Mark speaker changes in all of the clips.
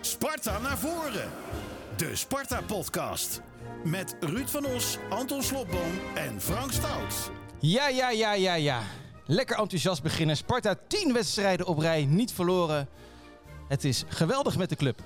Speaker 1: Sparta naar voren. De Sparta-podcast. Met Ruud van Os, Anton Slobboom en Frank Stout.
Speaker 2: Ja, ja, ja, ja, ja. Lekker enthousiast beginnen. Sparta 10 wedstrijden op rij, niet verloren. Het is geweldig met de club.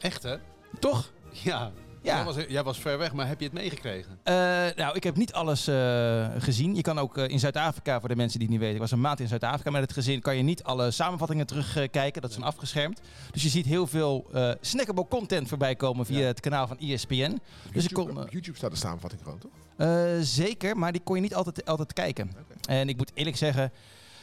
Speaker 3: Echt hè?
Speaker 2: Toch?
Speaker 3: Ja.
Speaker 2: Ja.
Speaker 3: Jij, was, jij was ver weg, maar heb je het meegekregen?
Speaker 2: Eh, nou, ik heb niet alles eh, gezien. Je kan ook eh, in Zuid-Afrika, voor de mensen die het niet weten. Ik was een maand in Zuid-Afrika met het gezin. Kan je niet alle samenvattingen terugkijken. dat zijn afgeschermd. Dus je ziet heel veel eh snackable content voorbij komen via
Speaker 3: Ja.
Speaker 2: het kanaal van ESPN. Dus ik
Speaker 4: YouTube,
Speaker 2: kon, eh,
Speaker 4: op YouTube staat de samenvatting gewoon, toch?
Speaker 2: Eh, zeker, maar die kon je niet altijd, altijd kijken. En ik moet eerlijk zeggen,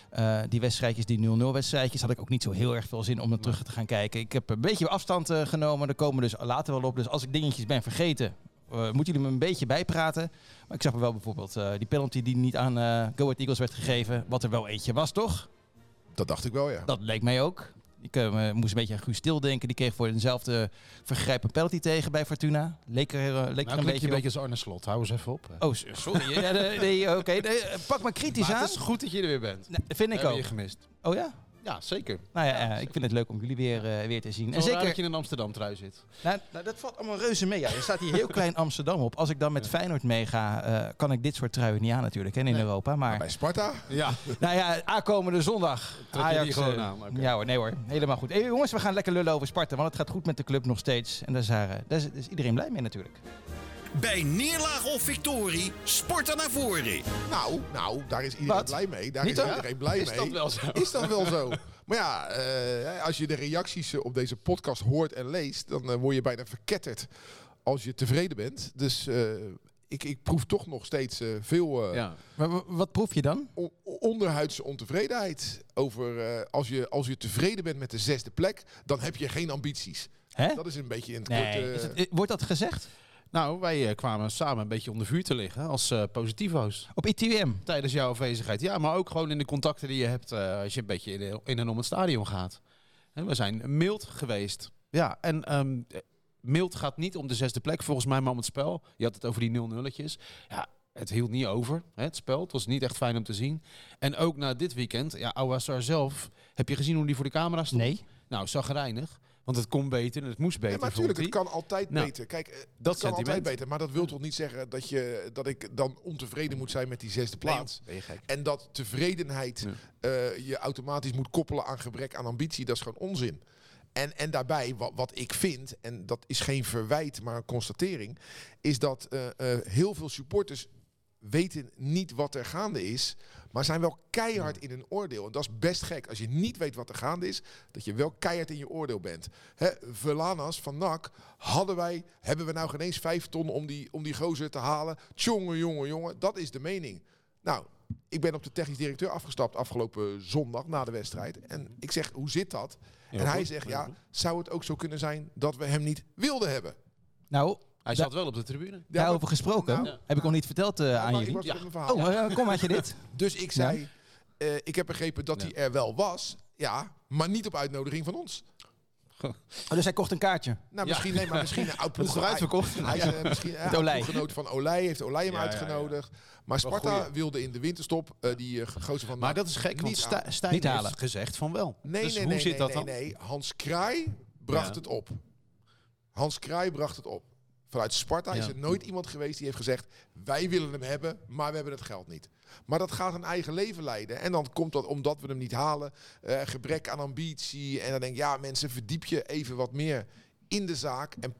Speaker 2: eh, die wedstrijdjes, die 0-0 wedstrijdjes, had ik ook niet zo heel erg veel zin om er terug te gaan kijken. Ik heb een beetje afstand eh, genomen, daar komen we dus later wel op. Dus als ik dingetjes ben vergeten, eh, moeten jullie me een beetje bijpraten. Maar ik zag er wel bijvoorbeeld eh, die penalty die niet aan eh Go Ahead Eagles werd gegeven, wat er wel eentje was, toch?
Speaker 4: Dat dacht ik wel, ja.
Speaker 2: Dat leek mij ook. Ik eh, moest een beetje aan Guus Til denken. Die kreeg voor dezelfde vergrijp een penalty tegen bij Fortuna. Leek er, eh, leek er
Speaker 3: Nou,
Speaker 2: een
Speaker 3: klink je
Speaker 2: beetje
Speaker 3: een
Speaker 2: op.
Speaker 3: beetje als Arne Slot. Hou eens even op.
Speaker 2: Oh, s- sorry. ja, nee, nee, oké. Nee, eh, pak maar kritisch
Speaker 3: maar
Speaker 2: aan.
Speaker 3: het is goed dat je er weer bent.
Speaker 2: Nee, vind ik
Speaker 3: Hebben
Speaker 2: ook.
Speaker 3: je gemist.
Speaker 2: Oh ja?
Speaker 3: Ja, zeker.
Speaker 2: Nou ja,
Speaker 3: Ja,
Speaker 2: eh, ik
Speaker 3: zeker.
Speaker 2: vind het leuk om jullie weer, eh, weer te zien. En
Speaker 3: En zeker dat
Speaker 2: zeker,
Speaker 3: je in Amsterdam trui zit.
Speaker 2: nou, nou, dat valt allemaal reuze mee. Ja. Er staat hier heel klein Amsterdam op. Als ik dan met Feyenoord meega, eh, kan ik dit soort truien niet aan natuurlijk hè, in Europa. Maar
Speaker 4: Bij Sparta.
Speaker 3: Ja.
Speaker 2: nou ja, aankomende zondag.
Speaker 3: je die gewoon
Speaker 2: eh,
Speaker 3: aan, oké.
Speaker 2: Ja hoor, nee hoor. Helemaal goed. Hey, jongens, we gaan lekker lullen over Sparta, want het gaat goed met de club nog steeds. En daar is, eh, daar is, daar is iedereen blij mee natuurlijk.
Speaker 1: Bij neerlaag of victorie, Sparta naar voren.
Speaker 4: Nou, nou, daar is iedereen
Speaker 2: Wat?
Speaker 4: blij mee. Daar
Speaker 2: Niet
Speaker 4: is
Speaker 2: waar?
Speaker 4: iedereen blij
Speaker 3: Is
Speaker 4: mee.
Speaker 3: dat wel zo?
Speaker 4: Is dat wel zo? Maar ja, eh, als je de reacties eh, op deze podcast hoort en leest, dan eh, word je bijna verketterd als je tevreden bent. Dus eh, ik, ik proef toch nog steeds eh, veel eh,
Speaker 3: Ja.
Speaker 2: Maar w- wat proef je dan?
Speaker 4: on- onderhuidse ontevredenheid. Over eh, als, je, als je tevreden bent met de zesde plek, dan heb je geen ambities.
Speaker 2: Hè?
Speaker 4: Dat is een beetje in het kort.
Speaker 2: Eh. Nee.
Speaker 4: eh,
Speaker 2: Is het- eh, wordt dat gezegd?
Speaker 3: Nou, wij eh, kwamen samen een beetje onder vuur te liggen als eh positivo's.
Speaker 2: Op ITM?
Speaker 3: Tijdens jouw afwezigheid. Ja, maar ook gewoon in de contacten die je hebt eh, als je een beetje in, in en om het stadion gaat. En we zijn mild geweest. Ja, en ehm mild gaat niet om de zesde plek volgens mij, maar om het spel. Je had het over die 0-0'tjes. Ja, het hield niet over, hè, het spel. Het was niet echt fijn om te zien. En ook na dit weekend, ja, Awassar zelf. Heb je gezien hoe die voor de camera stond?
Speaker 2: Nee.
Speaker 3: Nou, zagrijnig. Want het kon beter en het moest beter.
Speaker 4: Ja, maar
Speaker 3: vond
Speaker 4: natuurlijk, het
Speaker 3: hij.
Speaker 4: kan altijd
Speaker 3: Nou,
Speaker 4: beter. Kijk, eh, het
Speaker 3: dat
Speaker 4: kan altijd
Speaker 3: sentiment.
Speaker 4: beter. Maar dat wil toch niet zeggen dat, je, dat ik dan ontevreden moet zijn met die zesde plaats.
Speaker 3: Nee, ben je gek.
Speaker 4: En dat tevredenheid eh, je automatisch moet koppelen aan gebrek aan ambitie. Dat is gewoon onzin. En, en daarbij, wat, wat ik vind, en dat is geen verwijt, maar een constatering, is dat eh, eh, heel veel supporters weten niet wat er gaande is, maar zijn wel keihard in een oordeel. En dat is best gek. Als je niet weet wat er gaande is, dat je wel keihard in je oordeel bent. Hè, Velanas van NAC, hadden wij, hebben we nou geen eens vijf ton om die, om die gozer te halen? Tjonge, jonge, jonge. Dat is de mening. Nou, ik ben op de technisch directeur afgestapt afgelopen zondag na de wedstrijd. En ik zeg, hoe zit dat? en hij
Speaker 3: goed,
Speaker 4: zegt,
Speaker 3: Mhm. heel
Speaker 4: ja,
Speaker 3: goed.
Speaker 4: zou het ook zo kunnen zijn dat we hem niet wilden hebben?
Speaker 2: Nou,
Speaker 3: Hij
Speaker 2: da-
Speaker 3: zat wel op de tribune.
Speaker 4: Ja,
Speaker 2: daarover gesproken.
Speaker 4: nou,
Speaker 2: heb ik nog niet verteld eh, aan
Speaker 4: maar ik
Speaker 2: jullie.
Speaker 4: was met mijn verhaal.
Speaker 2: Oh, eh, kom, had je dit?
Speaker 4: Dus ik zei, eh, ik heb begrepen dat
Speaker 3: Ja.
Speaker 4: hij er wel was. Ja, maar niet op uitnodiging van ons.
Speaker 2: Oh, dus hij kocht een kaartje.
Speaker 4: Nou,
Speaker 3: Ja.
Speaker 4: misschien, nee, maar misschien een oud
Speaker 3: Het is
Speaker 4: ploeg- hij-
Speaker 3: uitverkocht.
Speaker 4: Hij is eh, misschien
Speaker 2: Met Olij.
Speaker 4: een genoot van Olij, heeft Olij hem
Speaker 3: Ja, ja, ja.
Speaker 4: uitgenodigd. Maar
Speaker 3: Wel
Speaker 4: Sparta
Speaker 3: goeie.
Speaker 4: wilde in de winterstop eh, die eh, gozer van
Speaker 3: Maar
Speaker 4: NAC
Speaker 3: dat is gek, want
Speaker 4: niet aan.
Speaker 3: Sta- Stijn
Speaker 2: Niet halen.
Speaker 3: heeft gezegd van wel.
Speaker 4: Nee,
Speaker 3: dus
Speaker 4: nee,
Speaker 3: hoe
Speaker 4: nee,
Speaker 3: zit
Speaker 4: nee,
Speaker 3: dat
Speaker 4: nee,
Speaker 3: dan?
Speaker 4: nee. Hans Kraai bracht
Speaker 3: Ja.
Speaker 4: het op. Hans Kraai bracht het op. Vanuit Sparta is
Speaker 3: Ja.
Speaker 4: er nooit iemand geweest die heeft gezegd... wij willen hem hebben, maar we hebben het geld niet. Maar dat gaat een eigen leven leiden. En dan komt dat omdat we hem niet halen. eh, gebrek aan ambitie. En dan denk ik, ja mensen, verdiep je even wat meer in de zaak. En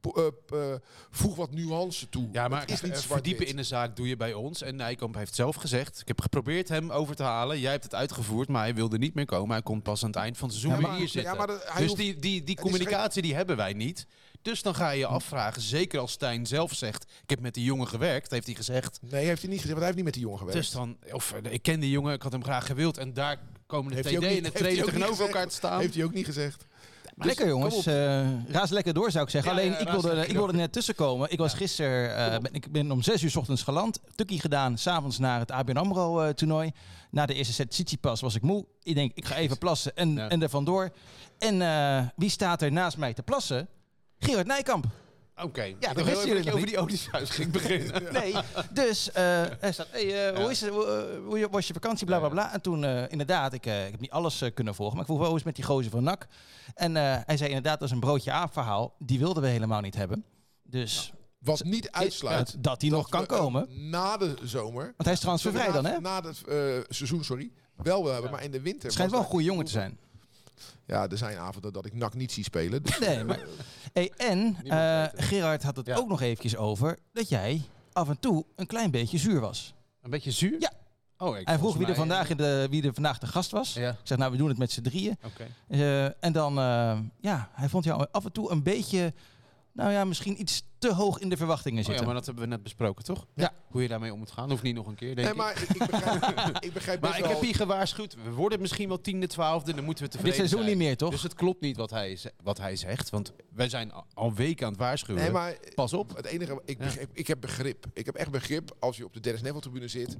Speaker 4: po- eh, p- eh, voeg wat nuance toe.
Speaker 3: Ja, maar
Speaker 4: het is niet
Speaker 3: eh,
Speaker 4: zwart
Speaker 3: verdiepen in de zaak doe je bij ons. En Nijkamp heeft zelf gezegd, ik heb geprobeerd hem over te halen. Jij hebt het uitgevoerd, maar hij wilde niet meer komen. Hij komt pas aan het eind van het seizoen
Speaker 4: Ja,
Speaker 3: weer
Speaker 4: maar-
Speaker 3: hier zitten.
Speaker 4: ja, maar dat- hij
Speaker 3: dus
Speaker 4: hoeft-
Speaker 3: die, die, die
Speaker 4: is geen-
Speaker 3: communicatie die hebben wij niet. Dus dan ga je je afvragen, zeker als Stijn zelf zegt... ik heb met die jongen gewerkt, heeft hij gezegd.
Speaker 4: Nee, heeft hij niet gezegd, want hij heeft niet met die jongen gewerkt.
Speaker 3: Dus dan, of eh, ik ken die jongen, ik had hem graag gewild. En daar komen de
Speaker 4: Heeft
Speaker 3: TD
Speaker 4: hij ook niet-
Speaker 3: en de
Speaker 4: heeft
Speaker 3: trainer
Speaker 4: hij ook niet
Speaker 3: tegenover
Speaker 4: gezegd?
Speaker 3: elkaar te staan.
Speaker 4: Heeft dus hij ook niet gezegd.
Speaker 2: lekker jongens, Eh, raas lekker door zou ik zeggen.
Speaker 3: Dus, Ja,
Speaker 2: Alleen ik,
Speaker 3: ja, raas
Speaker 2: wilde,
Speaker 3: lekker
Speaker 2: ik wilde er net tussenkomen. Ik was gisteren, eh, ben, ik ben om 6 uur 's ochtends geland. Tukkie gedaan, s'avonds naar het ABN AMRO eh, toernooi. Na de eerste set Tsitsipas was ik moe. Ik denk, ik ga even plassen en,
Speaker 3: Ja.
Speaker 2: en er vandoor. En eh, wie staat er naast mij te plassen? Gerard Nijkamp.
Speaker 3: Oké. Ik
Speaker 2: dat
Speaker 3: dacht heel
Speaker 2: wisten
Speaker 3: even
Speaker 2: jullie
Speaker 3: dat je
Speaker 2: nog
Speaker 3: over
Speaker 2: niet.
Speaker 3: die Odysseus ging beginnen.
Speaker 2: Nee, dus eh, hij staat, hey, eh, hoe, is het, hoe, eh, hoe was je vakantie, bla bla bla. En toen, eh, inderdaad, ik, eh, ik heb niet alles eh, kunnen volgen, maar ik vroeg wel hoe is het met die gozer van NAC. En eh, hij zei inderdaad, dat is een broodje aap verhaal, die wilden we helemaal niet hebben. Dus
Speaker 4: Wat niet uitsluit.
Speaker 2: dat, die nog kan
Speaker 4: we, eh,
Speaker 2: komen,
Speaker 4: Na de zomer.
Speaker 2: want hij is transfervrij dan, hè?
Speaker 4: Na het eh, seizoen, sorry. Wel wel hebben, maar in de winter.
Speaker 2: Schijnt wel
Speaker 4: was
Speaker 2: een goede jongen te zijn.
Speaker 4: hij- Ja, er zijn avonden dat ik NAC niet zie spelen. Dus,
Speaker 2: Nee, maar... Hey, en eh, Gerard had het
Speaker 3: Ja.
Speaker 2: ook nog eventjes over dat jij af en toe een klein beetje zuur was.
Speaker 3: Een beetje zuur?
Speaker 2: Ja.
Speaker 3: Oh, ik,
Speaker 2: Hij vroeg
Speaker 3: volgens
Speaker 2: wie er,
Speaker 3: mij-
Speaker 2: vandaag in de, wie er vandaag de gast was.
Speaker 3: Ja,
Speaker 2: Ik zeg, nou, we doen het met z'n drieën.
Speaker 3: oké.
Speaker 2: Eh, en dan, eh, ja, hij vond jou af en toe een beetje, nou ja, misschien iets te hoog in de verwachtingen
Speaker 3: Oh ja,
Speaker 2: zitten.
Speaker 3: maar dat hebben we net besproken, toch?
Speaker 2: Ja.
Speaker 3: Hoe je daarmee om moet gaan. Hoeft niet nog een keer, denk
Speaker 4: nee,
Speaker 3: ik. Maar,
Speaker 4: maar ik, ik begrijp, ik begrijp best
Speaker 3: ik heb
Speaker 4: wel-
Speaker 3: hier gewaarschuwd. We worden misschien wel tiende, twaalfde. Dan moeten we
Speaker 2: Dit
Speaker 3: tevreden
Speaker 2: seizoen
Speaker 3: zijn.
Speaker 2: niet meer, toch?
Speaker 3: Dus het klopt niet wat hij, ze- wat hij zegt. Want wij zijn al- al weken aan het waarschuwen.
Speaker 4: Nee, maar
Speaker 3: Pas op.
Speaker 4: het enige, ik,
Speaker 3: Ja.
Speaker 4: begrijp- ik heb begrip. Ik heb echt begrip als je op de Dennis Neville tribune zit.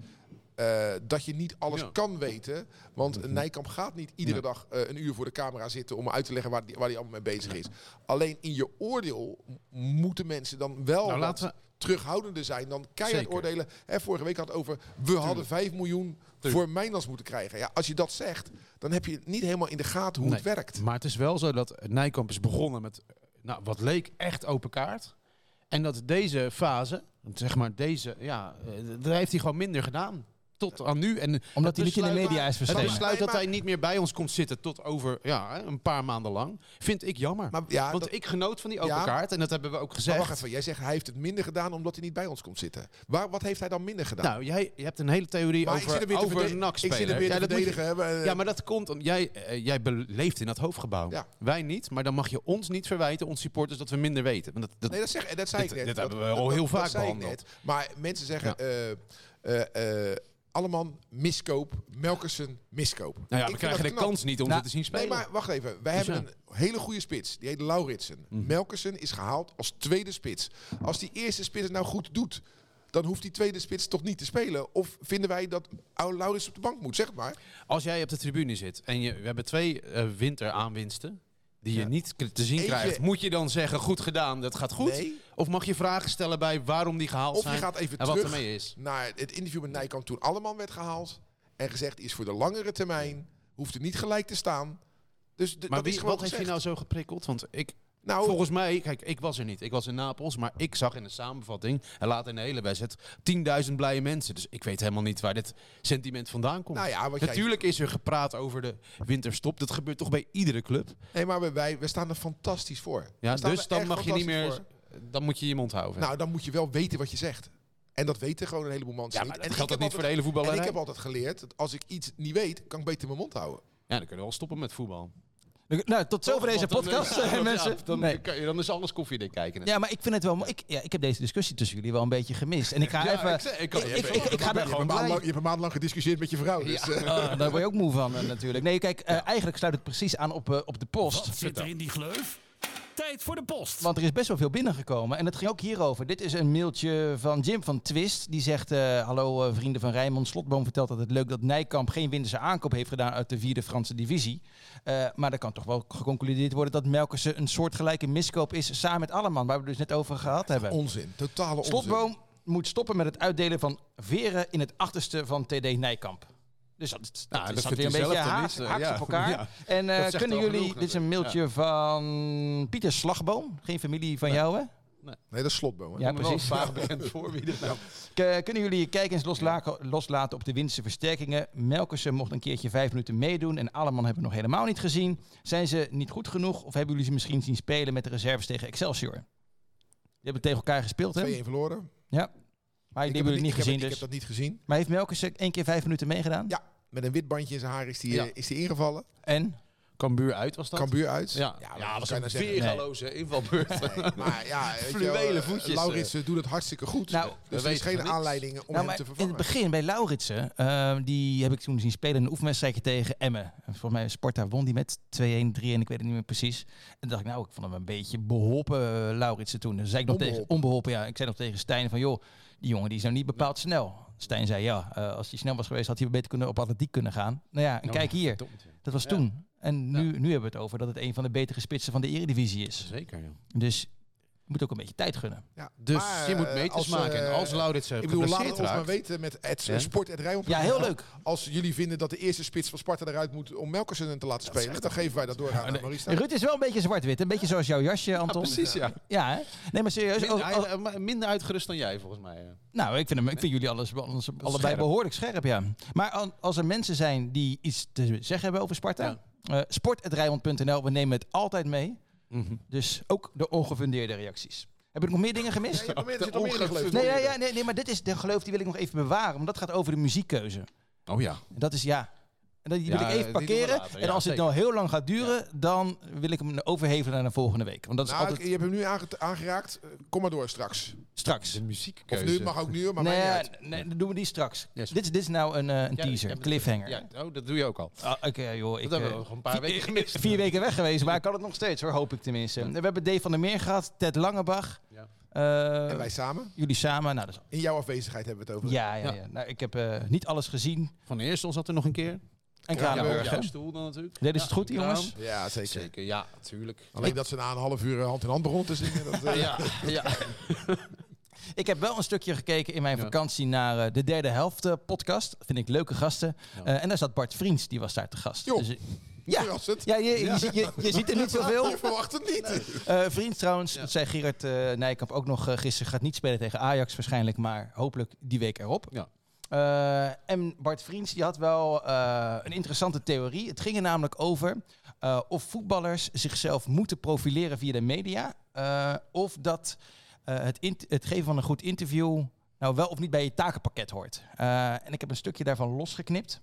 Speaker 4: eh, dat je niet alles
Speaker 3: Ja. Mhm.
Speaker 4: kan weten. Want Nijkamp gaat niet iedere
Speaker 3: Nee.
Speaker 4: dag eh, een uur voor de camera zitten om uit te leggen waar die- waar hij allemaal mee bezig is. Alleen in je oordeel m- moeten mensen dan wel
Speaker 3: Nou,
Speaker 4: wat
Speaker 3: laten we-
Speaker 4: terughoudender zijn dan keihard
Speaker 3: Zeker.
Speaker 4: oordelen. Hè, vorige week had het over, we hadden 5 miljoen voor Mijnlands moeten krijgen. Ja, als je dat zegt, dan heb je niet helemaal in de gaten hoe het
Speaker 3: Nee.
Speaker 4: werkt.
Speaker 3: Maar het is wel zo dat Nijkamp is begonnen met eh, nou, wat leek echt open kaart. En dat deze fase, zeg maar deze, ja, eh, daar heeft hij gewoon minder gedaan. Tot aan nu. En
Speaker 2: Omdat hij niet in de
Speaker 3: besluit-
Speaker 2: media is
Speaker 3: Het
Speaker 2: verschenen.
Speaker 3: besluit dat
Speaker 4: maar-
Speaker 3: hij niet meer bij ons komt zitten tot over ja, hè, een paar maanden lang, vind ik jammer.
Speaker 4: Maar ja,
Speaker 3: Want
Speaker 4: dat-
Speaker 3: ik genoot van die open
Speaker 4: Ja.
Speaker 3: kaart en dat hebben we ook
Speaker 4: Maar
Speaker 3: gezegd.
Speaker 4: wacht even, jij zegt hij heeft het minder gedaan omdat hij niet bij ons komt zitten. Waar, wat heeft hij dan minder gedaan?
Speaker 3: Nou, jij je hebt een hele theorie
Speaker 4: maar ik zit
Speaker 3: over,
Speaker 4: hem weer te
Speaker 3: over
Speaker 4: verdedigen.
Speaker 3: NAC
Speaker 4: Ik zit hem weer te
Speaker 3: ja, dat moet je-
Speaker 4: verdedigen. hè, maar, eh,
Speaker 3: ja, maar dat komt omdat jij, eh, jij beleeft in dat hoofdgebouw.
Speaker 4: Ja.
Speaker 3: Wij niet, maar dan mag je ons niet verwijten, ons supporters, dat we minder weten. Want dat, dat,
Speaker 4: Nee, dat, zeg, dat zei
Speaker 3: Dit-
Speaker 4: ik net.
Speaker 3: dit
Speaker 4: Dat-
Speaker 3: hebben we al
Speaker 4: dat-
Speaker 3: heel
Speaker 4: dat
Speaker 3: vaak
Speaker 4: zei ik
Speaker 3: behandeld.
Speaker 4: net. Maar mensen zeggen... eh eh, eh, Alleman, miskoop. Melkersen, miskoop.
Speaker 3: nou ja,
Speaker 4: Ik
Speaker 3: we
Speaker 4: vind
Speaker 3: krijgen de
Speaker 4: dat knap.
Speaker 3: kans niet om
Speaker 2: Nou,
Speaker 3: ze te zien
Speaker 4: Nee,
Speaker 3: spelen.
Speaker 4: maar wacht even. Wij
Speaker 3: Dus
Speaker 4: hebben een hele goede spits. Die heet Lauritsen.
Speaker 3: Mhm.
Speaker 4: Melkersen is gehaald als tweede spits. Als die eerste spits het nou goed doet... dan hoeft die tweede spits toch niet te spelen? Of vinden wij dat Lauritsen op de bank moet? Zeg het maar.
Speaker 3: Als jij op de tribune zit en je, we hebben twee eh, winteraanwinsten die je niet k- te zien
Speaker 4: Eentje-
Speaker 3: krijgt, moet je dan zeggen, goed gedaan, dat gaat goed?
Speaker 4: Nee.
Speaker 3: Of mag je vragen stellen bij waarom die gehaald
Speaker 4: Of je
Speaker 3: zijn
Speaker 4: gaat even
Speaker 3: en
Speaker 4: terug
Speaker 3: wat ermee is?
Speaker 4: naar het interview met Nijkamp toen Alleman werd gehaald. En gezegd die is voor de langere termijn. Hoeft er niet gelijk te staan. Dus
Speaker 3: Maar
Speaker 4: de- dat
Speaker 3: wie,
Speaker 4: is gewoon
Speaker 3: wat heeft je
Speaker 4: gezegd.
Speaker 3: nou zo geprikkeld? Want ik,
Speaker 4: Nou,
Speaker 3: volgens mij, kijk, ik was er niet. Ik was in Napels, maar ik zag in de samenvatting en later in de hele wedstrijd 10.000 blije mensen. Dus ik weet helemaal niet waar dit sentiment vandaan komt.
Speaker 4: nou ja, wat jij,
Speaker 3: Natuurlijk is er gepraat over de winterstop. Dat gebeurt toch bij iedere club.
Speaker 4: nee, maar we- wij, we staan er fantastisch voor.
Speaker 3: Ja,
Speaker 4: We staan
Speaker 3: dus
Speaker 4: er
Speaker 3: dan
Speaker 4: echt
Speaker 3: mag je niet meer.
Speaker 4: fantastisch voor.
Speaker 3: Dan moet je je mond houden.
Speaker 4: Nou, dan moet je wel weten wat je zegt. En dat weten gewoon een heleboel mensen
Speaker 3: ja,
Speaker 4: niet.
Speaker 3: maar
Speaker 4: En
Speaker 3: dat
Speaker 4: ik
Speaker 3: geldt ook
Speaker 4: heb
Speaker 3: niet voor de
Speaker 4: altijd-
Speaker 3: hele voetballerij.
Speaker 4: En ik heb altijd geleerd dat als ik iets niet weet, kan ik beter mijn mond houden.
Speaker 3: Ja, dan kunnen we wel stoppen met voetbal.
Speaker 2: Nou, tot zover deze
Speaker 3: Want dan-
Speaker 2: podcast,
Speaker 3: ja,
Speaker 2: eh,
Speaker 3: want
Speaker 2: mensen.
Speaker 3: Ja, dan,
Speaker 2: Nee.
Speaker 3: kan je, dan is alles koffiedik kijken.
Speaker 2: Ja, maar ik vind het wel. mo- Ik, ja, ik heb deze discussie tussen jullie wel een beetje gemist. En ik ga
Speaker 3: Ja,
Speaker 2: even.
Speaker 3: ik zei- ik kan-
Speaker 2: ik,
Speaker 3: je
Speaker 2: ik,
Speaker 3: hebt-
Speaker 2: ik- ik ga er gewoon blij.
Speaker 4: je hebt een maand lang gediscussieerd met je vrouw. Dus, eh,
Speaker 2: Ah, daar word je ook moe van eh, natuurlijk. Nee, kijk, eh, eigenlijk sluit het precies aan op, eh, op de post.
Speaker 1: Wat zit er in die gleuf? Tijd voor de post.
Speaker 2: Want er is best wel veel binnengekomen. En het ging ook hierover. Dit is een mailtje van Jim van Twist. Die zegt: eh, Hallo eh, vrienden van Rijnmond. Slotboom vertelt dat het leuk dat Nijkamp geen winterse aankoop heeft gedaan uit de vierde Franse divisie. Eh, maar er kan toch wel geconcludeerd worden dat Melkersen een soortgelijke miskoop is samen met Alleman. Waar we het dus net over gehad hebben.
Speaker 4: onzin, totale onzin.
Speaker 2: Slotboom moet stoppen met het uitdelen van veren in het achterste van TD Nijkamp. Dus dat, dat,
Speaker 3: Nou, dat
Speaker 2: is
Speaker 3: vindt
Speaker 2: weer een
Speaker 3: hij
Speaker 2: beetje
Speaker 3: zelf dan
Speaker 2: haaks,
Speaker 3: niet, eh,
Speaker 2: haaks
Speaker 3: ja.
Speaker 2: op elkaar.
Speaker 3: Ja.
Speaker 2: En eh,
Speaker 3: Dat zegt
Speaker 2: kunnen
Speaker 3: al
Speaker 2: jullie...
Speaker 3: genoeg
Speaker 2: Dit is een mailtje van Pieter Slagboom. Geen familie van jou, hè?
Speaker 4: Nee, dat is slotboom. hè?
Speaker 2: Ja,
Speaker 3: Ja, precies.
Speaker 2: precies.
Speaker 3: Vaag bekend voor wie dit nou.
Speaker 2: K- kunnen jullie je kijkers loslaken- loslaten op de winstse versterkingen? Melkersen mocht een keertje vijf minuten meedoen en Alleman hebben we nog helemaal niet gezien. Zijn ze niet goed genoeg of hebben jullie ze misschien zien spelen met de reserves tegen Excelsior? Die hebben tegen elkaar gespeeld, hè?
Speaker 4: 2-1 verloren.
Speaker 2: Maar die
Speaker 4: heb
Speaker 2: hebben
Speaker 4: het
Speaker 2: jullie niet
Speaker 4: ik heb
Speaker 2: gezien,
Speaker 4: het- Ik
Speaker 2: dus.
Speaker 4: heb dat niet gezien.
Speaker 2: Maar heeft Melkersen één keer vijf minuten meegedaan?
Speaker 4: Ja. Met een wit bandje in zijn haar is hij
Speaker 3: Ja.
Speaker 4: eh, is hij ingevallen.
Speaker 2: En?
Speaker 3: Kambuur uit was dat?
Speaker 4: Cambuur uit.
Speaker 3: Ja,
Speaker 4: Ja,
Speaker 3: ja,
Speaker 4: maar
Speaker 3: dat was
Speaker 4: kan je
Speaker 3: een
Speaker 4: nou zeggen?
Speaker 3: weergaloze invalbeurt.
Speaker 4: Nee, maar ja, weet je wel,
Speaker 3: Fluwelen
Speaker 4: eh,
Speaker 3: voetjes,
Speaker 4: Lauritsen doet het hartstikke goed.
Speaker 2: Nou,
Speaker 3: we
Speaker 4: dus er is
Speaker 3: weten
Speaker 4: geen
Speaker 3: niks.
Speaker 4: aanleiding om
Speaker 2: Nou,
Speaker 4: hem
Speaker 2: maar
Speaker 4: te
Speaker 2: in
Speaker 4: vervangen.
Speaker 2: het begin bij Lauritsen, eh, die heb ik toen zien spelen in een oefenwedstrijdje tegen Emmen. En Volgens mij Sparta won die met 2-1, 3-1, ik weet het niet meer precies. En toen dacht ik, nou, ik vond hem een beetje beholpen, eh, Lauritsen toen. Dus zei ik nog
Speaker 4: Onbeholpen.
Speaker 2: tegen, onbeholpen, ja. Ik zei nog tegen Stijn van, joh, die jongen die is nou niet bepaald snel. Stijn zei, ja, eh, als hij snel was geweest, had hij beter kunnen op atletiek kunnen gaan. Nou ja, en
Speaker 3: Nou,
Speaker 2: kijk hier, dat was
Speaker 3: Ja.
Speaker 2: toen. En nu, nu hebben we het over dat het een van de betere spitsen van de eredivisie is.
Speaker 3: Zeker, ja.
Speaker 2: Dus moet ook een beetje tijd gunnen.
Speaker 3: Dus
Speaker 4: Maar,
Speaker 3: je moet
Speaker 4: eh,
Speaker 3: meters
Speaker 4: als,
Speaker 3: maken. En
Speaker 4: eh,
Speaker 3: als Laurits zich
Speaker 4: Ik bedoel, laat
Speaker 3: geblesseerd
Speaker 4: het ons maar
Speaker 3: raakt...
Speaker 4: weten met het
Speaker 3: Ja.
Speaker 4: sport at Rijnmond.
Speaker 2: Ja, heel leuk.
Speaker 4: Als jullie vinden dat de eerste spits van Sparta eruit moet om Melkersen te laten spelen, dan geven wij dat door aan Marista.
Speaker 2: Ruud is wel een beetje zwart-wit. Een beetje zoals jouw jasje, Anton.
Speaker 3: Precies, ja.
Speaker 2: Ja, hè? Nee, maar serieus.
Speaker 3: Minder,
Speaker 2: oh, oh,
Speaker 3: hij- eh, minder uitgerust dan jij, volgens mij. eh.
Speaker 2: nou, ik vind, hem, ik vind jullie alles, alles- allebei behoorlijk scherp, ja. Maar al- als er mensen zijn die iets te zeggen hebben over Sparta... eh sport.rijnmond.nl, we nemen het altijd mee.
Speaker 3: Mhm.
Speaker 2: Dus ook de ongefundeerde reacties. Heb ik nog meer dingen gemist?
Speaker 4: Ja, maar er zit nog meer in geloof.
Speaker 2: Nee, ja, ja, nee, nee, maar dit is de geloof die wil ik nog even bewaren. Want dat gaat over de muziekkeuze.
Speaker 3: Oh ja.
Speaker 2: En Dat is ja. En dat- die wil
Speaker 3: Ja,
Speaker 2: ik
Speaker 3: die
Speaker 2: even
Speaker 3: doen we
Speaker 2: parkeren.
Speaker 3: later.
Speaker 2: en
Speaker 3: Ja,
Speaker 2: als
Speaker 3: zeker.
Speaker 2: het nou heel lang gaat duren, dan wil ik hem overhevelen naar de volgende week. Want dat is
Speaker 4: Nou,
Speaker 2: altijd
Speaker 4: Je hebt hem nu aange- aangeraakt. Eh, Kom maar door straks.
Speaker 2: straks.
Speaker 3: De
Speaker 4: Of
Speaker 3: muziekkeuze.
Speaker 4: nu, mag ook nu, maar mij niet
Speaker 2: nee,
Speaker 4: uit.
Speaker 2: nee, dan doen we die straks.
Speaker 3: Yes.
Speaker 2: Dit, is, dit is nou een, eh, een
Speaker 3: Ja,
Speaker 2: teaser,
Speaker 3: ja,
Speaker 2: een cliffhanger.
Speaker 3: Ja, oh, dat doe je ook al.
Speaker 2: Ah, Oké, joh. Ik,
Speaker 3: Dat hebben
Speaker 2: eh,
Speaker 3: we nog een paar
Speaker 2: vi-
Speaker 3: weken gemist.
Speaker 2: Vier weken weg geweest, maar ik kan het nog steeds hoor, hoop ik tenminste. We hebben Dave van der Meer gehad, Ted Langebach.
Speaker 3: Ja.
Speaker 2: eh,
Speaker 4: En wij samen.
Speaker 2: jullie samen. Nou, dat is-
Speaker 4: In jouw afwezigheid hebben we het over.
Speaker 2: ja, ja,
Speaker 3: Ja.
Speaker 2: ja. Nou, ik heb eh, niet alles gezien.
Speaker 3: Van de eerste zat er nog een keer.
Speaker 2: En
Speaker 4: Kranenburg,
Speaker 2: Kranenburg,
Speaker 3: Ja,
Speaker 2: hè?
Speaker 3: op stoel dan natuurlijk.
Speaker 2: Deden ze
Speaker 3: Ja,
Speaker 2: het goed,
Speaker 3: een
Speaker 2: jongens?
Speaker 3: kraan.
Speaker 4: Ja, zeker.
Speaker 3: Zeker, ja, tuurlijk.
Speaker 4: Alleen dat ze na een half uur eh, hand in hand begonnen te zingen. Dat, eh,
Speaker 3: Ja, ja.
Speaker 2: Ik heb wel een stukje gekeken in mijn
Speaker 3: Ja.
Speaker 2: vakantie naar eh, de derde helft eh, podcast. Vind ik leuke gasten.
Speaker 3: Ja.
Speaker 2: Eh, en daar zat Bart Vriends, die was daar te gast.
Speaker 4: Joh.
Speaker 2: Dus, eh, ja,
Speaker 4: Verrassend.
Speaker 2: ja, je, je, ziet- je- je ziet er niet zoveel.
Speaker 4: Je verwacht het niet.
Speaker 2: Eh Vriends trouwens,
Speaker 3: Ja.
Speaker 2: dat zei Gerard eh, Nijkamp ook nog eh, gisteren, gaat niet spelen tegen Ajax waarschijnlijk, maar hopelijk die week erop.
Speaker 3: Ja.
Speaker 2: Eh, en Bart Vriends die had wel eh, een interessante theorie. Het ging er namelijk over eh, of voetballers zichzelf moeten profileren via de media. eh, of dat eh, het, int- het geven van een goed interview nou wel of niet bij je takenpakket hoort. Eh, en ik heb een stukje daarvan losgeknipt.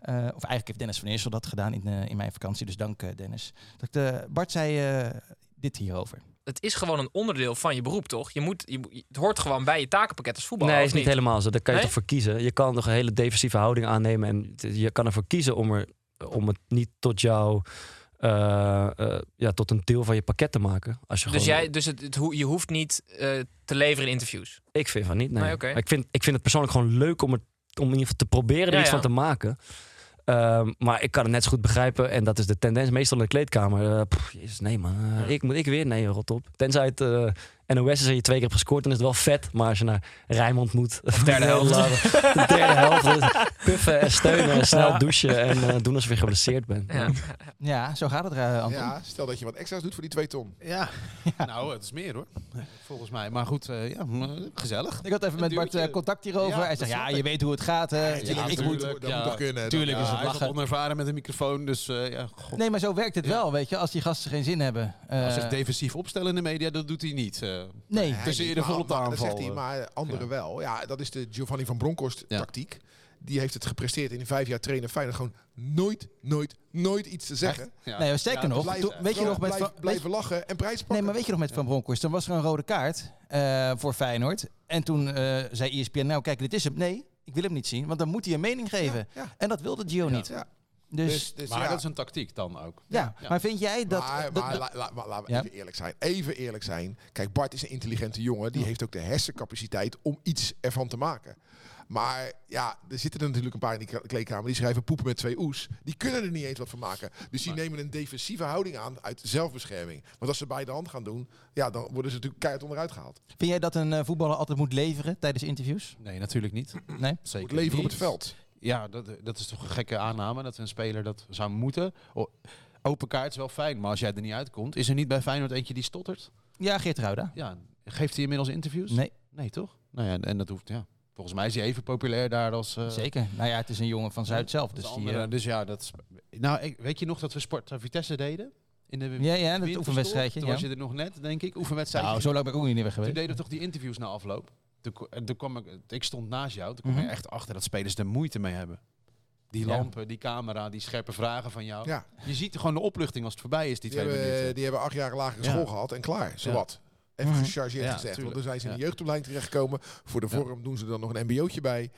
Speaker 2: Eh, of eigenlijk heeft Dennis van Eersel dat gedaan in, eh, in mijn vakantie. Dus dank eh, Dennis. Dat, eh, Bart zei eh, dit hierover.
Speaker 5: Het is gewoon een onderdeel van je beroep, toch? Je moet, je, moet- het hoort gewoon bij je takenpakket als voetballer.
Speaker 6: Nee,
Speaker 5: of
Speaker 6: is niet helemaal zo. Daar kan je
Speaker 5: Nee?
Speaker 6: toch voor kiezen. Je kan toch een hele defensieve houding aannemen. En t- je kan ervoor kiezen om, er, om het niet tot jou. eh, eh, ja, tot een deel van je pakket te maken. Als je
Speaker 5: Dus,
Speaker 6: gewoon,
Speaker 5: jij, dus het, het ho- je hoeft niet eh, te leveren in interviews.
Speaker 6: Ik vind van niet, nee.
Speaker 5: Nee, oké.
Speaker 6: Maar ik, vind, ik vind het persoonlijk gewoon leuk om, het, om in ieder geval te proberen er
Speaker 5: Ja,
Speaker 6: iets
Speaker 5: ja.
Speaker 6: van te maken. Ehm, maar ik kan het net zo goed begrijpen. En dat is de tendens meestal in de kleedkamer. Eh, pff, jezus, nee man. Eh,
Speaker 5: Ja.
Speaker 6: ik, moet ik weer? Nee, rot op. Tenzij het eh, NOS is en je twee keer hebt gescoord. Dan is het wel vet. Maar als je naar Rijnmond moet. De
Speaker 5: derde helft.
Speaker 6: de derde helft. dus puffen en steunen. En snel douchen. En eh, doen alsof je geblesseerd bent.
Speaker 5: Ja.
Speaker 2: Ja, zo gaat het, eh, Anton.
Speaker 4: Ja, stel dat je wat extra's doet voor die twee ton.
Speaker 3: Ja. Nou, het is meer hoor. Volgens mij. Maar goed, eh, ja, mm, gezellig.
Speaker 2: Ik had even
Speaker 3: Een
Speaker 2: met Bart
Speaker 3: duurtje.
Speaker 2: eh, contact hierover.
Speaker 3: Ja,
Speaker 2: Hij
Speaker 3: dat
Speaker 2: zegt, ja,
Speaker 3: snap ik.
Speaker 2: je weet hoe het gaat. hè.
Speaker 3: Ja,
Speaker 2: ik, ik moet...
Speaker 3: tuurlijk.
Speaker 4: dat moet
Speaker 3: ja.
Speaker 4: toch kunnen.
Speaker 2: Tuurlijk is het
Speaker 3: Ja, hij is wat
Speaker 2: lachen.
Speaker 3: onervaren met een microfoon, dus eh, ja, god.
Speaker 2: Nee, maar zo werkt het wel, weet je. Als die gasten geen zin hebben. Eh,
Speaker 3: Als zich defensief opstellen in de media, dat doet hij niet. eh.
Speaker 2: nee.
Speaker 4: Hij
Speaker 3: Dus
Speaker 4: niet,
Speaker 3: eerder
Speaker 4: maar-
Speaker 3: volop de
Speaker 4: maar-
Speaker 3: aanval,
Speaker 4: Dat zegt hij,
Speaker 3: eh.
Speaker 4: maar anderen
Speaker 3: Ja.
Speaker 4: wel. Ja, dat is de Giovanni van Bronckhorst
Speaker 3: Ja.
Speaker 4: tactiek. Die heeft het gepresteerd in die vijf jaar trainen. Feyenoord gewoon nooit, nooit, nooit iets te zeggen.
Speaker 3: Ja.
Speaker 2: Nee, sterker nog,
Speaker 4: Blijf-
Speaker 2: toen- weet je
Speaker 4: blijf-
Speaker 2: nog met...
Speaker 4: blijf-
Speaker 2: Van- weet-
Speaker 4: blijven lachen en prijs pakken.
Speaker 2: Nee, maar weet je nog met Van Bronckhorst? Dan was er een rode kaart eh, voor Feyenoord. En toen eh, zei ESPN, nou kijk, dit is hem. Nee, ik wil hem niet zien, want dan moet hij een mening geven.
Speaker 4: ja.
Speaker 2: En dat wilde Gio niet.
Speaker 4: Ja.
Speaker 2: Dus,
Speaker 4: Dus, dus
Speaker 3: Maar
Speaker 4: ja.
Speaker 3: dat is een tactiek dan ook.
Speaker 2: ja.
Speaker 3: Ja.
Speaker 2: maar vind jij dat...
Speaker 4: maar,
Speaker 2: dat-
Speaker 4: maar,
Speaker 2: dat-
Speaker 4: la- la- maar laten we
Speaker 2: Ja?
Speaker 4: even eerlijk zijn. Even eerlijk zijn. Kijk, Bart is een intelligente jongen. Die heeft ook de hersencapaciteit om iets ervan te maken. Maar ja, er zitten er natuurlijk een paar in die kle- kleedkamer. Die schrijven poepen met twee oes. Die kunnen er niet eens wat van maken. Dus die nemen een defensieve houding aan uit zelfbescherming. Want als ze bij de hand gaan doen, ja, dan worden ze natuurlijk keihard onderuit gehaald.
Speaker 2: vind jij dat een eh, voetballer altijd moet leveren tijdens interviews?
Speaker 3: Nee, natuurlijk niet.
Speaker 2: Nee?
Speaker 3: Zeker
Speaker 4: Moet leven op
Speaker 3: niet.
Speaker 4: het veld.
Speaker 3: Ja, dat, dat is toch een gekke aanname dat een speler dat zou moeten. O- Open kaart is wel fijn, maar als jij er niet uitkomt, is er niet bij Feyenoord eentje die stottert?
Speaker 2: Ja, Geert Ruida.
Speaker 3: Ja, geeft hij inmiddels interviews?
Speaker 2: Nee,
Speaker 3: Nee, toch? Nou ja, en dat hoeft, ja. Volgens mij is hij even populair daar als... eh,
Speaker 2: zeker. Nou ja, het is een jongen van Zuid zelf.
Speaker 3: als
Speaker 2: Dus die,
Speaker 3: andere.
Speaker 2: eh,
Speaker 3: dus ja, dat... is- Nou, ik, weet je nog dat we Sport Vitesse deden? In de
Speaker 2: Ja, ja, dat
Speaker 3: winterstop?
Speaker 2: oefenwedstrijdje.
Speaker 3: Toen
Speaker 2: Ja.
Speaker 3: was je er nog net, denk ik. Oefenwedstrijdje.
Speaker 2: Nou, zo lang ben ik ook niet meer weg
Speaker 3: Toen
Speaker 2: geweest.
Speaker 3: deden we toch die interviews na afloop. Toen, ko- en toen kwam ik, ik stond naast jou. Toen kwam
Speaker 2: Mhm.
Speaker 3: ik echt achter dat spelers er moeite mee hebben. Die
Speaker 2: Ja.
Speaker 3: lampen, die camera, die scherpe vragen van
Speaker 2: Oh.
Speaker 3: jou.
Speaker 4: Ja,
Speaker 3: Je ziet gewoon de opluchting als het voorbij is, die,
Speaker 4: die,
Speaker 3: twee minuten.
Speaker 4: hebben, eh, die hebben acht jaar lagere
Speaker 3: Ja.
Speaker 4: school gehad en klaar. Zo
Speaker 3: Ja.
Speaker 4: wat. Even
Speaker 2: Mhm.
Speaker 4: gechargeerd
Speaker 3: Ja,
Speaker 4: gezegd. Want
Speaker 3: tuurlijk.
Speaker 4: dan zijn ze in de
Speaker 3: Ja.
Speaker 4: jeugdopleiding terechtgekomen. Voor de
Speaker 3: Ja.
Speaker 4: vorm doen ze dan nog een mbo'tje bij. En
Speaker 3: Ja.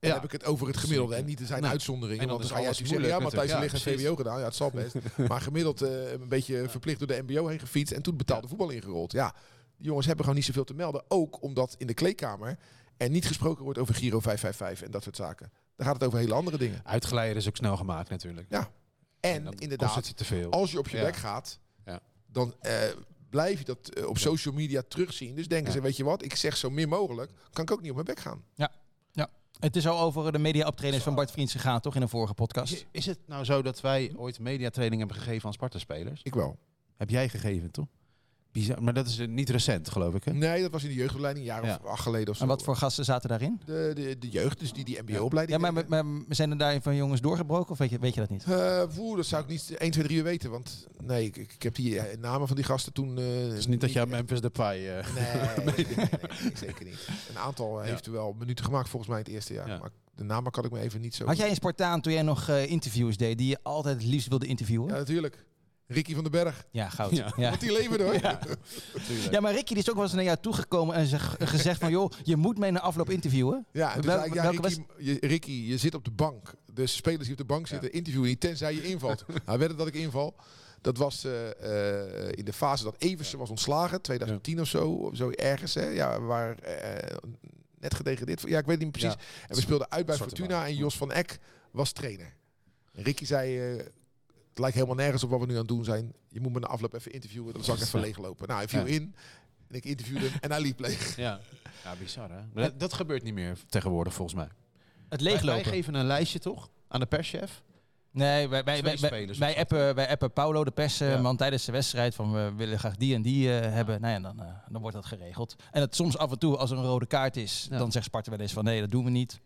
Speaker 4: dan heb ik het over het gemiddelde. En niet, er zijn
Speaker 3: Nee.
Speaker 4: uitzonderingen.
Speaker 3: En dan
Speaker 4: want dan
Speaker 3: is
Speaker 4: ga jij
Speaker 3: alles
Speaker 4: zeggen, ja,
Speaker 3: moeilijk
Speaker 4: Matthijs ja,
Speaker 3: natuurlijk.
Speaker 4: ligt
Speaker 3: Ja,
Speaker 4: een VWO gedaan. Ja, het zal best. maar gemiddeld eh, een beetje verplicht door de mbo heen gefietst. En toen betaalde voetbal ingerold. Ja, die jongens hebben gewoon niet zoveel te melden. Ook omdat in de kleedkamer er niet gesproken wordt over Giro 555 en dat soort zaken. Dan gaat het over hele andere dingen.
Speaker 3: Uitgeleiden is ook snel gemaakt natuurlijk.
Speaker 4: Ja. En
Speaker 3: dan kost
Speaker 4: inderdaad,
Speaker 3: het je te veel.
Speaker 4: als je op je
Speaker 3: Ja.
Speaker 4: bek gaat,
Speaker 3: Ja.
Speaker 4: dan eh, blijf je dat eh, op social media terugzien. Dus denken ze, weet je wat, ik zeg zo min mogelijk, kan ik ook niet op mijn bek gaan.
Speaker 2: Het is al over de media-optrainers van Bart Vriends gegaan, toch? In een vorige podcast.
Speaker 3: Is, is het nou zo dat wij ooit mediatraining hebben gegeven aan Sparta-spelers?
Speaker 4: Ik wel.
Speaker 3: Heb jij gegeven, toch? Bizar, maar dat is eh, niet recent, geloof ik, hè?
Speaker 4: Nee, dat was in de jeugdopleiding, een jaar of acht geleden of zo.
Speaker 2: En wat voor gasten zaten daarin?
Speaker 4: De, de, de jeugd, dus die die mbo-opleiding...
Speaker 2: Ja, maar, maar, maar zijn er daarin van jongens doorgebroken of weet je, weet je dat niet?
Speaker 4: Eh, woe, dat zou ik niet 1, 2, 3 weten. Want nee, ik, ik heb die eh, namen van die gasten toen... Het
Speaker 3: Het is niet dat jij Memphis Depay... eh
Speaker 4: Nee, nee, nee, nee, zeker niet. Een aantal eh, heeft er wel minuten gemaakt volgens mij in het eerste jaar.
Speaker 3: Ja.
Speaker 4: Maar de namen kan ik me even niet zo...
Speaker 2: Had jij een Spartaan toen jij nog eh, interviews deed die je altijd het liefst wilde
Speaker 4: Ja,
Speaker 2: interviewen? Ja,
Speaker 4: natuurlijk. Ricky van den Berg.
Speaker 2: goud. Ja.
Speaker 3: Ja.
Speaker 2: Ja.
Speaker 4: Want die leven hoor.
Speaker 2: Ja. maar Ricky die is ook wel eens naar jou toegekomen en zeg- gezegd van... joh, je moet mij na afloop interviewen.
Speaker 4: Ja, en toen
Speaker 2: Wel-
Speaker 4: zei ik, ja,
Speaker 2: welke
Speaker 4: Ricky, je, Ricky, je zit op de bank. De spelers die op de bank zitten, interviewen niet, tenzij je invalt. Hij werd dat ik inval. Dat was eh, eh, in de fase dat Eversen was ontslagen, 2010 of zo, of zo ergens. Hè? Ja, waar eh net gedegradeerd. Ja, ik weet niet precies. En we speelden uit bij
Speaker 3: Zwarte
Speaker 4: Fortuna
Speaker 3: baan.
Speaker 4: en Jos van Eck was trainer. En Ricky zei, eh, het lijkt helemaal nergens op wat we nu aan het doen zijn. Je moet me na afloop even interviewen, dan zal ik even leeglopen. Nou, hij viel
Speaker 3: Ja.
Speaker 4: in en ik interviewde hem en hij liep leeg.
Speaker 3: Ja. ja, bizar, hè? Maar dat, dat gebeurt niet meer tegenwoordig, volgens mij.
Speaker 2: Het
Speaker 3: Wij,
Speaker 2: leeglopen.
Speaker 3: wij geven een lijstje, toch? Aan de perschef.
Speaker 2: Nee, wij, wij,
Speaker 3: Twee
Speaker 2: wij, wij,
Speaker 3: spelers
Speaker 2: wij
Speaker 3: of zo.
Speaker 2: appen, wij appen Paulo, de
Speaker 3: Ja.
Speaker 2: persman, tijdens de wedstrijd van we willen graag die en die eh, hebben. Nou ja, dan, eh, dan wordt dat geregeld. En het soms af en toe, als er een rode kaart is,
Speaker 3: Ja.
Speaker 2: dan zegt Sparta wel eens van nee, dat doen we niet.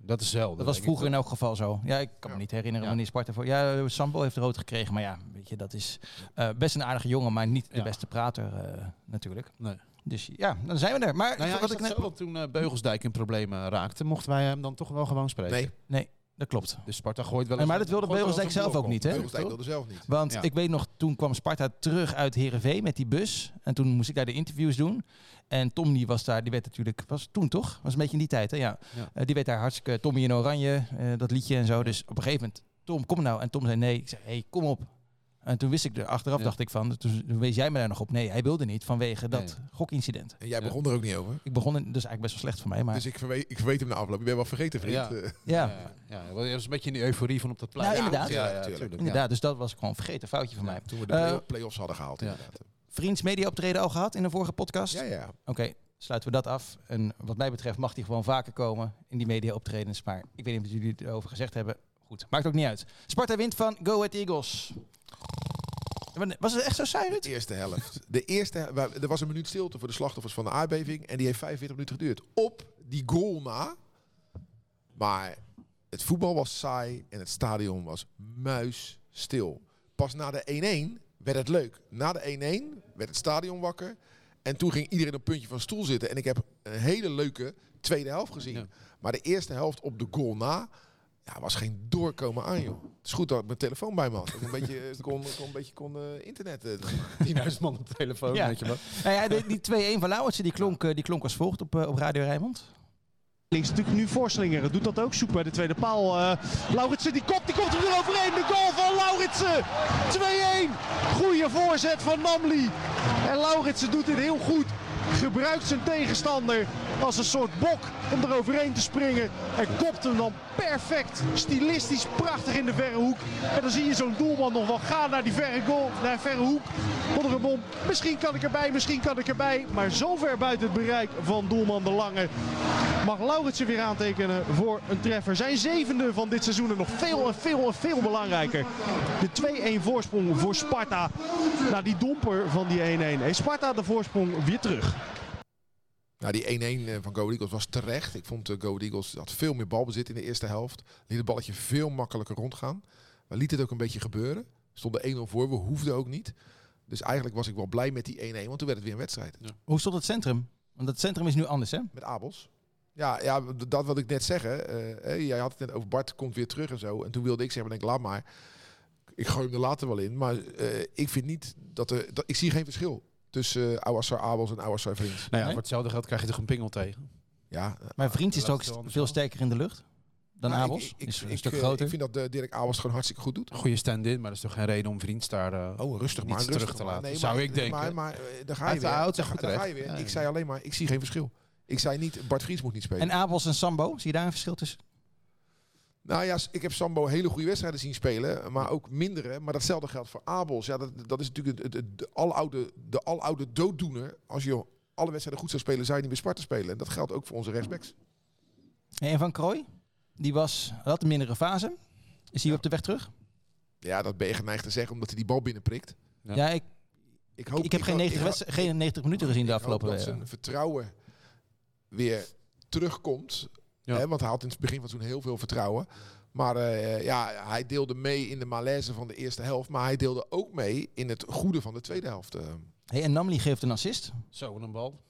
Speaker 3: Dat is zelden.
Speaker 2: Dat was
Speaker 3: denk ik.
Speaker 2: vroeger in elk geval zo. Ja, ik kan me
Speaker 4: Ja.
Speaker 2: niet herinneren
Speaker 3: Ja.
Speaker 2: wanneer Sparta voor... Ja, eh, Sambo heeft rood gekregen, maar ja, weet je, dat is eh, best een aardige jongen, maar niet de
Speaker 3: Ja.
Speaker 2: beste prater eh, natuurlijk.
Speaker 3: Nee.
Speaker 2: Dus ja, dan zijn we er. Maar
Speaker 3: Nou ja,
Speaker 2: wat
Speaker 3: is
Speaker 2: ik
Speaker 3: dat
Speaker 2: net...
Speaker 3: zo dat toen eh, Beugelsdijk in problemen raakte, mochten wij hem dan toch wel gewoon spreken?
Speaker 4: Nee,
Speaker 2: Dat klopt.
Speaker 3: Dus Sparta gooit wel
Speaker 2: Nee, maar dat wilde
Speaker 3: gooit wel eens
Speaker 2: Beugelsdijk zelf
Speaker 3: een blok
Speaker 2: ook
Speaker 3: om.
Speaker 2: niet, hè?
Speaker 4: Beugelsdijk wilde zelf niet.
Speaker 2: Want
Speaker 3: Ja.
Speaker 2: ik weet nog, toen kwam Sparta terug uit Heerenveen met die bus. En toen moest ik daar de interviews doen. En Tom die was daar, die werd natuurlijk, was toen toch? Was een beetje in die tijd, hè? Ja.
Speaker 3: Ja.
Speaker 2: Eh, die werd daar hartstikke Tommy in Oranje, eh, dat liedje en zo. Dus op een gegeven moment, Tom, kom nou. En Tom zei nee. Ik zei, hey, kom op. En toen wist ik er, achteraf
Speaker 3: Ja.
Speaker 2: dacht ik van, toen, toen wees jij me daar nog op. Nee, hij wilde niet vanwege dat
Speaker 3: Nee.
Speaker 2: gokincident.
Speaker 4: En jij
Speaker 3: Ja.
Speaker 4: begon er ook niet over.
Speaker 2: Ik begon, in, dus eigenlijk best wel slecht voor mij, maar
Speaker 4: Dus ik verweet, ik verweet hem na afloop. Ik ben wel vergeten, vriend.
Speaker 3: Ja.
Speaker 4: Eh,
Speaker 2: ja.
Speaker 3: Ja, ja, ja. Dat was een beetje in de euforie van op dat plein.
Speaker 2: Ja, inderdaad.
Speaker 3: Ja, ja,
Speaker 4: Ja,
Speaker 3: tuurlijk. Ja.
Speaker 2: Inderdaad, dus dat was gewoon een vergeten foutje van mij.
Speaker 4: Toen we de
Speaker 2: Eh,
Speaker 4: play- play-offs hadden gehaald,
Speaker 3: ja.
Speaker 4: inderdaad.
Speaker 2: Vriends media optreden al gehad in een vorige podcast?
Speaker 4: Ja, ja.
Speaker 2: Oké, sluiten we dat af. En wat mij betreft mag die gewoon vaker komen in die media optredens. Maar ik weet niet wat jullie erover gezegd hebben. Goed, maakt ook niet uit. Sparta wint van Go Ahead Eagles. Was het echt zo saai, Ruud?
Speaker 4: De eerste helft. De eerste, hel- waar- er was een minuut stilte voor de slachtoffers van de aardbeving. En die heeft 45 minuten geduurd. Op die goal na. Maar het voetbal was saai en het stadion was muisstil. Pas na de 1-1 werd het leuk. Na de 1-1 werd het stadion wakker. En toen ging iedereen op een puntje van een stoel zitten. En ik heb een hele leuke tweede helft gezien.
Speaker 3: Ja.
Speaker 4: Maar de eerste helft op de goal na... Ja, was geen doorkomen aan, joh. Het is goed dat ik mijn telefoon bij me had. Dat ik een beetje eh, kon, kon, een beetje kon eh, internet. eh,
Speaker 3: 10.000 man op de telefoon,
Speaker 2: Ja.
Speaker 3: weet je wel.
Speaker 2: Nou ja, die- die 2-1 van Lauwertsen die klonk, eh, die klonk als volgt op, eh, op Radio Rijnmond.
Speaker 7: Links natuurlijk nu voorslingeren. Doet dat ook zoek bij de tweede paal. eh Lauritsen die kop, die komt er overheen. De goal van Lauritsen. 2-1. Goeie voorzet van Namli. En Lauritsen doet dit heel goed. Gebruikt zijn tegenstander als een soort bok om er overheen te springen. En kopt hem dan perfect, stilistisch, prachtig in de verre hoek. En dan zie je zo'n doelman nog wel gaan naar die verre goal, naar de verre hoek. Onder hem om. Misschien kan ik erbij, misschien kan ik erbij. Maar zo ver buiten het bereik van doelman De Lange mag Lauritsen weer aantekenen voor een treffer. Zijn zevende van dit seizoen en nog veel en veel en veel belangrijker. De 2-1 voorsprong voor Sparta. Na die domper van die 1-1 heeft Sparta de voorsprong weer terug.
Speaker 4: Nou, die 1-1 van Go Ahead Eagles was terecht. Ik vond eh, Go Ahead Eagles had veel meer balbezit in de eerste helft. Liet het balletje veel makkelijker rondgaan. Maar liet het ook een beetje gebeuren. Stonden 1-0 voor, we hoefden ook niet. Dus eigenlijk was ik wel blij met die 1-1, want toen werd het weer een wedstrijd.
Speaker 2: Hoe stond het centrum? Want het centrum is nu anders, hè?
Speaker 4: Met Abels. Ja, ja, d- dat wat ik net zeg. Hè. Eh, hé, jij had het net over Bart komt weer terug en zo. En toen wilde ik zeggen, maar denk, laat maar. Ik gooi hem er later wel in. Maar eh, ik vind niet dat er... Dat, ik zie geen verschil tussen uh, Awassar Abels en Awassar Vriends.
Speaker 3: Nou ja,
Speaker 2: Nee?
Speaker 3: voor hetzelfde geld krijg je toch een pingel tegen.
Speaker 4: Ja,
Speaker 2: Maar Vriends is
Speaker 3: laat
Speaker 2: toch
Speaker 3: het wel
Speaker 2: ook
Speaker 3: anders
Speaker 2: veel
Speaker 3: wel.
Speaker 2: sterker in de lucht dan
Speaker 4: Nou, ik-
Speaker 2: Abels.
Speaker 4: Ik, ik,
Speaker 2: is een
Speaker 4: ik,
Speaker 2: stuk
Speaker 4: eh,
Speaker 2: groter.
Speaker 4: ik vind dat eh, Dirk Abels gewoon hartstikke goed doet.
Speaker 3: Goede stand-in, maar dat is toch geen reden om vriends daar... eh,
Speaker 4: Oh, rustig
Speaker 3: Niets
Speaker 4: maar.
Speaker 3: terug
Speaker 4: rustig
Speaker 3: te
Speaker 4: maar.
Speaker 3: laten, zou ik denken.
Speaker 4: Maar, maar eh, daar ga
Speaker 3: Hij
Speaker 4: je weer.
Speaker 3: verhoudt zich
Speaker 4: daar,
Speaker 3: goed
Speaker 4: daar ga je
Speaker 3: terecht.
Speaker 4: weer.
Speaker 3: Ja,
Speaker 4: Ik
Speaker 3: ja.
Speaker 4: zei alleen maar, ik zie geen verschil. Ik zei niet, Bart Vries moet niet spelen.
Speaker 2: En Abels en Sambo, zie je daar een verschil tussen?
Speaker 4: Nou ja, s- ik heb Sambo hele goede wedstrijden zien spelen, maar ook mindere. Maar datzelfde geldt voor Abels. Ja, dat, dat is natuurlijk het, het, de, aloude, de aloude dooddoener. Als je alle wedstrijden goed zou spelen, zou je niet meer Sparta spelen. En dat geldt ook voor onze rechtsbacks.
Speaker 2: En Van Krooi, die was, had een mindere fase. Is hij op de weg terug?
Speaker 4: Ja, dat ben je geneigd te zeggen, omdat hij die bal binnenprikt.
Speaker 2: Ja,
Speaker 3: Ja.
Speaker 2: ik,
Speaker 4: Ik, hoop,
Speaker 2: ik heb geen,
Speaker 4: hoop-
Speaker 2: 90
Speaker 4: ik ho-
Speaker 2: wedst- geen 90 minuten gezien de
Speaker 4: ik hoop
Speaker 2: afgelopen eh,
Speaker 4: dat
Speaker 2: weken.
Speaker 4: zijn vertrouwen weer terugkomt.
Speaker 3: Ja.
Speaker 4: Hè, want hij had in het begin van het seizoen heel veel vertrouwen. Maar eh, ja, hij deelde mee in de malaise van de eerste helft. Maar hij deelde ook mee in het goede van de tweede helft. eh.
Speaker 2: Hey, en Namli geeft een assist.
Speaker 3: Zo, wat een bal.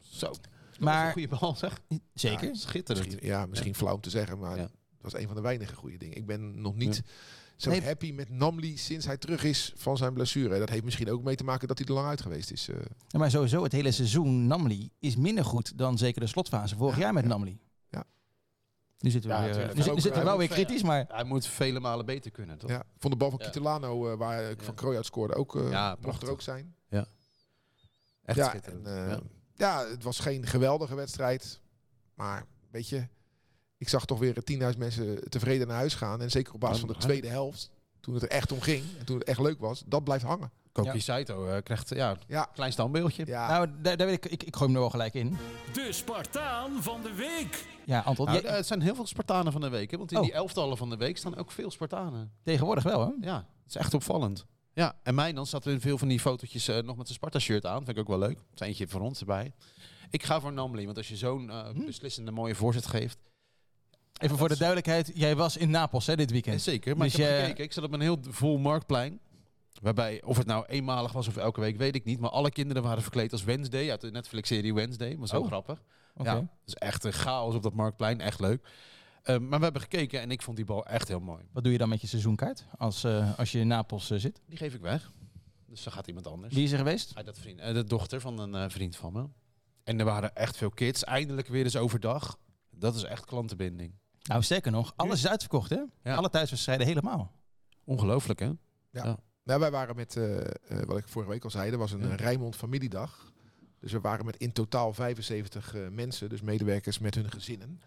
Speaker 3: Zo, dat maar, een
Speaker 2: Maar,
Speaker 3: goede bal zeg.
Speaker 2: zeker.
Speaker 3: Ja, schitterend.
Speaker 4: Misschien, ja, misschien flauw om te zeggen, maar
Speaker 3: Ja.
Speaker 4: dat was een van de weinige goede dingen. Ik ben nog niet zo
Speaker 2: Nee.
Speaker 4: happy met Namli sinds hij terug is van zijn blessure. Dat heeft misschien ook mee te maken dat hij er lang uit geweest is. eh.
Speaker 2: Ja, maar sowieso, het hele seizoen Namli is minder goed dan zeker de slotfase vorig jaar met
Speaker 4: ja.
Speaker 2: Namli.
Speaker 4: Ja.
Speaker 2: Nu zitten we,
Speaker 3: Ja,
Speaker 2: weer,
Speaker 3: natuurlijk.
Speaker 2: nu, zit- nu
Speaker 4: Ook,
Speaker 2: zitten we
Speaker 4: eh,
Speaker 2: wel weer kritisch, maar
Speaker 3: Hij moet vele malen beter kunnen, toch?
Speaker 4: ja. Ik Vond de bal van
Speaker 3: Ja.
Speaker 4: Kittelano, eh, waar ik van Krooi uit scoorde, ook eh,
Speaker 3: Ja,
Speaker 4: mocht er
Speaker 3: prachtig.
Speaker 4: ook zijn.
Speaker 3: Echt
Speaker 4: ja,
Speaker 3: schitterend.
Speaker 4: en, eh,
Speaker 3: Ja.
Speaker 4: ja, het was geen geweldige wedstrijd. Maar weet je, ik zag toch weer 10.000 mensen tevreden naar huis gaan. En zeker op basis van de tweede helft, toen het er echt om ging en toen het echt leuk was, dat blijft hangen.
Speaker 3: Koki Saito eh, krijgt eh, ja, een
Speaker 4: Ja.
Speaker 3: klein standbeeldje.
Speaker 4: Ja,
Speaker 2: nou, daar, daar wil ik, ik, ik gooi hem er wel gelijk in.
Speaker 1: De Spartaan van de week.
Speaker 2: Ja, Anton,
Speaker 3: Nou,
Speaker 2: jij-
Speaker 3: eh, het zijn heel veel Spartanen van de week. Hè? Want in
Speaker 2: Oh.
Speaker 3: die elftallen van de week staan ook veel Spartanen.
Speaker 2: tegenwoordig wel, hè?
Speaker 3: Ja, het is echt opvallend. Ja, en mij dan staat in veel van die fotootjes eh, nog met een Sparta-shirt aan. Vind ik ook wel leuk. Er is eentje van ons erbij. Ik ga voor Namli, want als je zo'n eh, beslissende mooie voorzet geeft...
Speaker 2: Even voor de duidelijkheid, jij was in Napels hè, dit
Speaker 3: Eh,
Speaker 2: weekend.
Speaker 3: zeker, maar
Speaker 2: Dus
Speaker 3: ik heb
Speaker 2: je-
Speaker 3: gekeken. Ik zat op een heel vol marktplein. Waarbij, of het nou eenmalig was of elke week, weet ik niet. Maar alle kinderen waren verkleed als Wednesday uit de Netflix-serie Wednesday. Was heel
Speaker 2: Oh.
Speaker 3: grappig.
Speaker 2: Oké.
Speaker 3: Ja, dat is echt een chaos op dat marktplein. Echt leuk. Eh, maar we hebben gekeken en ik vond die bal echt heel mooi.
Speaker 2: Wat doe je dan met je seizoenkaart als, eh, als je in Napels eh, zit?
Speaker 3: Die geef ik weg. Dus dan gaat iemand anders.
Speaker 2: Wie is er geweest?
Speaker 3: Ah, dat vriend, eh, de dochter van een eh, vriend van me. En er waren echt veel kids. Eindelijk weer eens overdag. Dat is echt klantenbinding.
Speaker 2: Nou, sterker nog, alles is uitverkocht, hè?
Speaker 3: Ja.
Speaker 2: Alle thuiswedstrijden helemaal.
Speaker 3: Ongelooflijk, hè?
Speaker 4: Nou, wij waren met, eh, eh, wat ik vorige week al zei, er was een eh, Rijnmond familiedag. Dus we waren met in totaal 75 eh, mensen, dus medewerkers met hun gezinnen.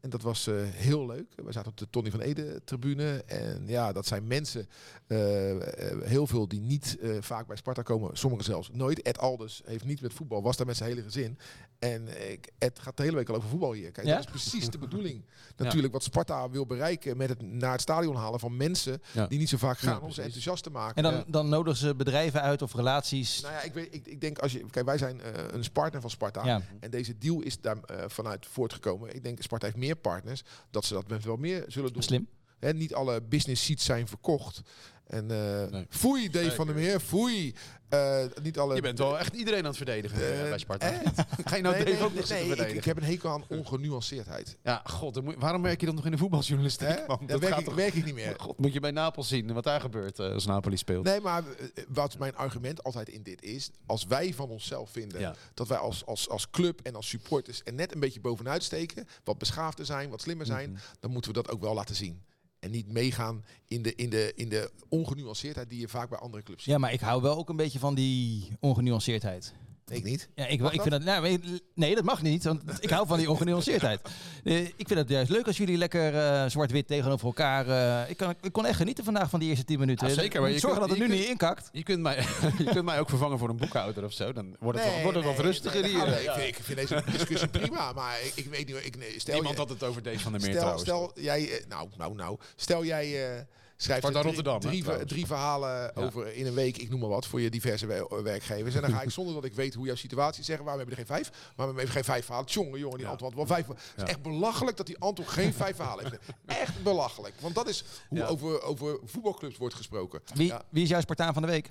Speaker 4: En dat was eh, heel leuk. We zaten op de Tony van Ede tribune. En ja, dat zijn mensen, eh, eh, heel veel die niet eh, vaak bij Sparta komen. Sommigen zelfs nooit. Ed Alders heeft niet met voetbal, was daar met zijn hele gezin. En eh, ik- Ed gaat de hele week al over voetbal hier. Kijk,
Speaker 2: Ja?
Speaker 4: dat is precies de bedoeling. Natuurlijk wat Sparta wil bereiken met het naar het stadion halen van mensen
Speaker 3: Ja.
Speaker 4: die niet zo vaak gaan om ze
Speaker 3: precies.
Speaker 4: enthousiast te maken.
Speaker 2: En dan,
Speaker 3: Ja.
Speaker 2: dan nodigen ze bedrijven uit of relaties.
Speaker 4: Nou ja, ik, weet, ik, ik denk als je. Kijk, wij zijn eh, een partner van Sparta.
Speaker 2: ja.
Speaker 4: En deze deal is daar eh, vanuit voortgekomen. Ik denk, Sparta heeft meer partners. Dat ze dat met wel meer zullen doen.
Speaker 2: Slim.
Speaker 4: Hè, niet alle business seats zijn verkocht. En eh
Speaker 3: Nee.
Speaker 4: foei, Dave
Speaker 3: Zeker.
Speaker 4: van der Meer, foei. Eh, niet alle.
Speaker 3: Je bent wel echt iedereen aan het verdedigen eh,
Speaker 4: Eh,
Speaker 3: bij Sparta.
Speaker 4: eh?
Speaker 3: Ga je nou
Speaker 4: Nee,
Speaker 3: Dave
Speaker 4: nee,
Speaker 3: ook nog
Speaker 4: nee,
Speaker 3: zitten
Speaker 4: nee, ik,
Speaker 3: verdedigen?
Speaker 4: ik heb een hekel aan ongenuanceerdheid.
Speaker 3: Ja, god, dan moet- waarom werk je dan nog in de voetbaljournalistiek,
Speaker 4: Hè?
Speaker 3: man?
Speaker 4: Dat,
Speaker 3: Dat
Speaker 4: werk,
Speaker 3: gaat
Speaker 4: ik,
Speaker 3: toch...
Speaker 4: werk ik niet meer.
Speaker 3: God, moet je bij Napels zien wat daar gebeurt eh, als Napoli speelt.
Speaker 4: Nee, maar eh, wat mijn argument altijd in dit is, als wij van onszelf vinden
Speaker 3: Ja.
Speaker 4: dat wij als, als, als club en als supporters er net een beetje bovenuit steken, wat beschaafder zijn, wat slimmer zijn,
Speaker 3: Mhm.
Speaker 4: dan moeten we dat ook wel laten zien. En niet meegaan in de, in de, in de ongenuanceerdheid die je vaak bij andere clubs ziet.
Speaker 2: Ja, maar ik hou wel ook een beetje van die ongenuanceerdheid.
Speaker 4: Ik niet.
Speaker 2: Ja, ik,
Speaker 4: Mag
Speaker 2: ik vind dat, nou, weet- nee, dat mag niet, want ik hou van die ongenuanceerdheid. Eh, ik vind het juist leuk als jullie lekker eh, zwart-wit tegenover elkaar... eh, ik, kan, ik kon echt genieten vandaag van die eerste 10 minuten.
Speaker 3: Ja, zeker, maar
Speaker 2: Moet
Speaker 3: je
Speaker 2: Zorgen
Speaker 3: kunt-
Speaker 2: dat het
Speaker 3: je
Speaker 2: nu
Speaker 3: kunt-
Speaker 2: niet inkakt.
Speaker 3: Je, kunt mij, je kunt mij ook vervangen voor een boekhouder of zo. Dan wordt het, wel- wordt het wat rustiger
Speaker 4: nee,
Speaker 3: hier.
Speaker 4: nee, ik, vind, ik vind deze discussie prima, maar ik, ik weet niet. hoor. Ik, nee, stel
Speaker 3: Iemand
Speaker 4: je-
Speaker 3: had het over Dave van der Meer
Speaker 4: Stel,
Speaker 3: trouwens.
Speaker 4: stel jij, eh, nou, nou, nou, stel jij eh, schrijft
Speaker 3: Sparta
Speaker 4: drie,
Speaker 3: Rotterdam, hè,
Speaker 4: drie, ver-
Speaker 3: trouwens.
Speaker 4: drie verhalen
Speaker 3: Ja.
Speaker 4: over in een week, ik noem maar wat, voor je diverse wer- werkgevers. En dan ga ik zonder dat ik weet hoe jouw situatie zeggen, waarom hebben we er geen vijf? Waarom hebben we geen vijf verhalen? Jongen, jongen, die Anton had wel vijf. Het
Speaker 3: Ja.
Speaker 4: is echt belachelijk dat die Anton geen vijf verhalen heeft. Echt belachelijk, want dat is hoe
Speaker 3: Ja.
Speaker 4: over, over voetbalclubs wordt gesproken.
Speaker 2: Wie,
Speaker 4: Ja.
Speaker 2: wie is jouw Spartaan van de week?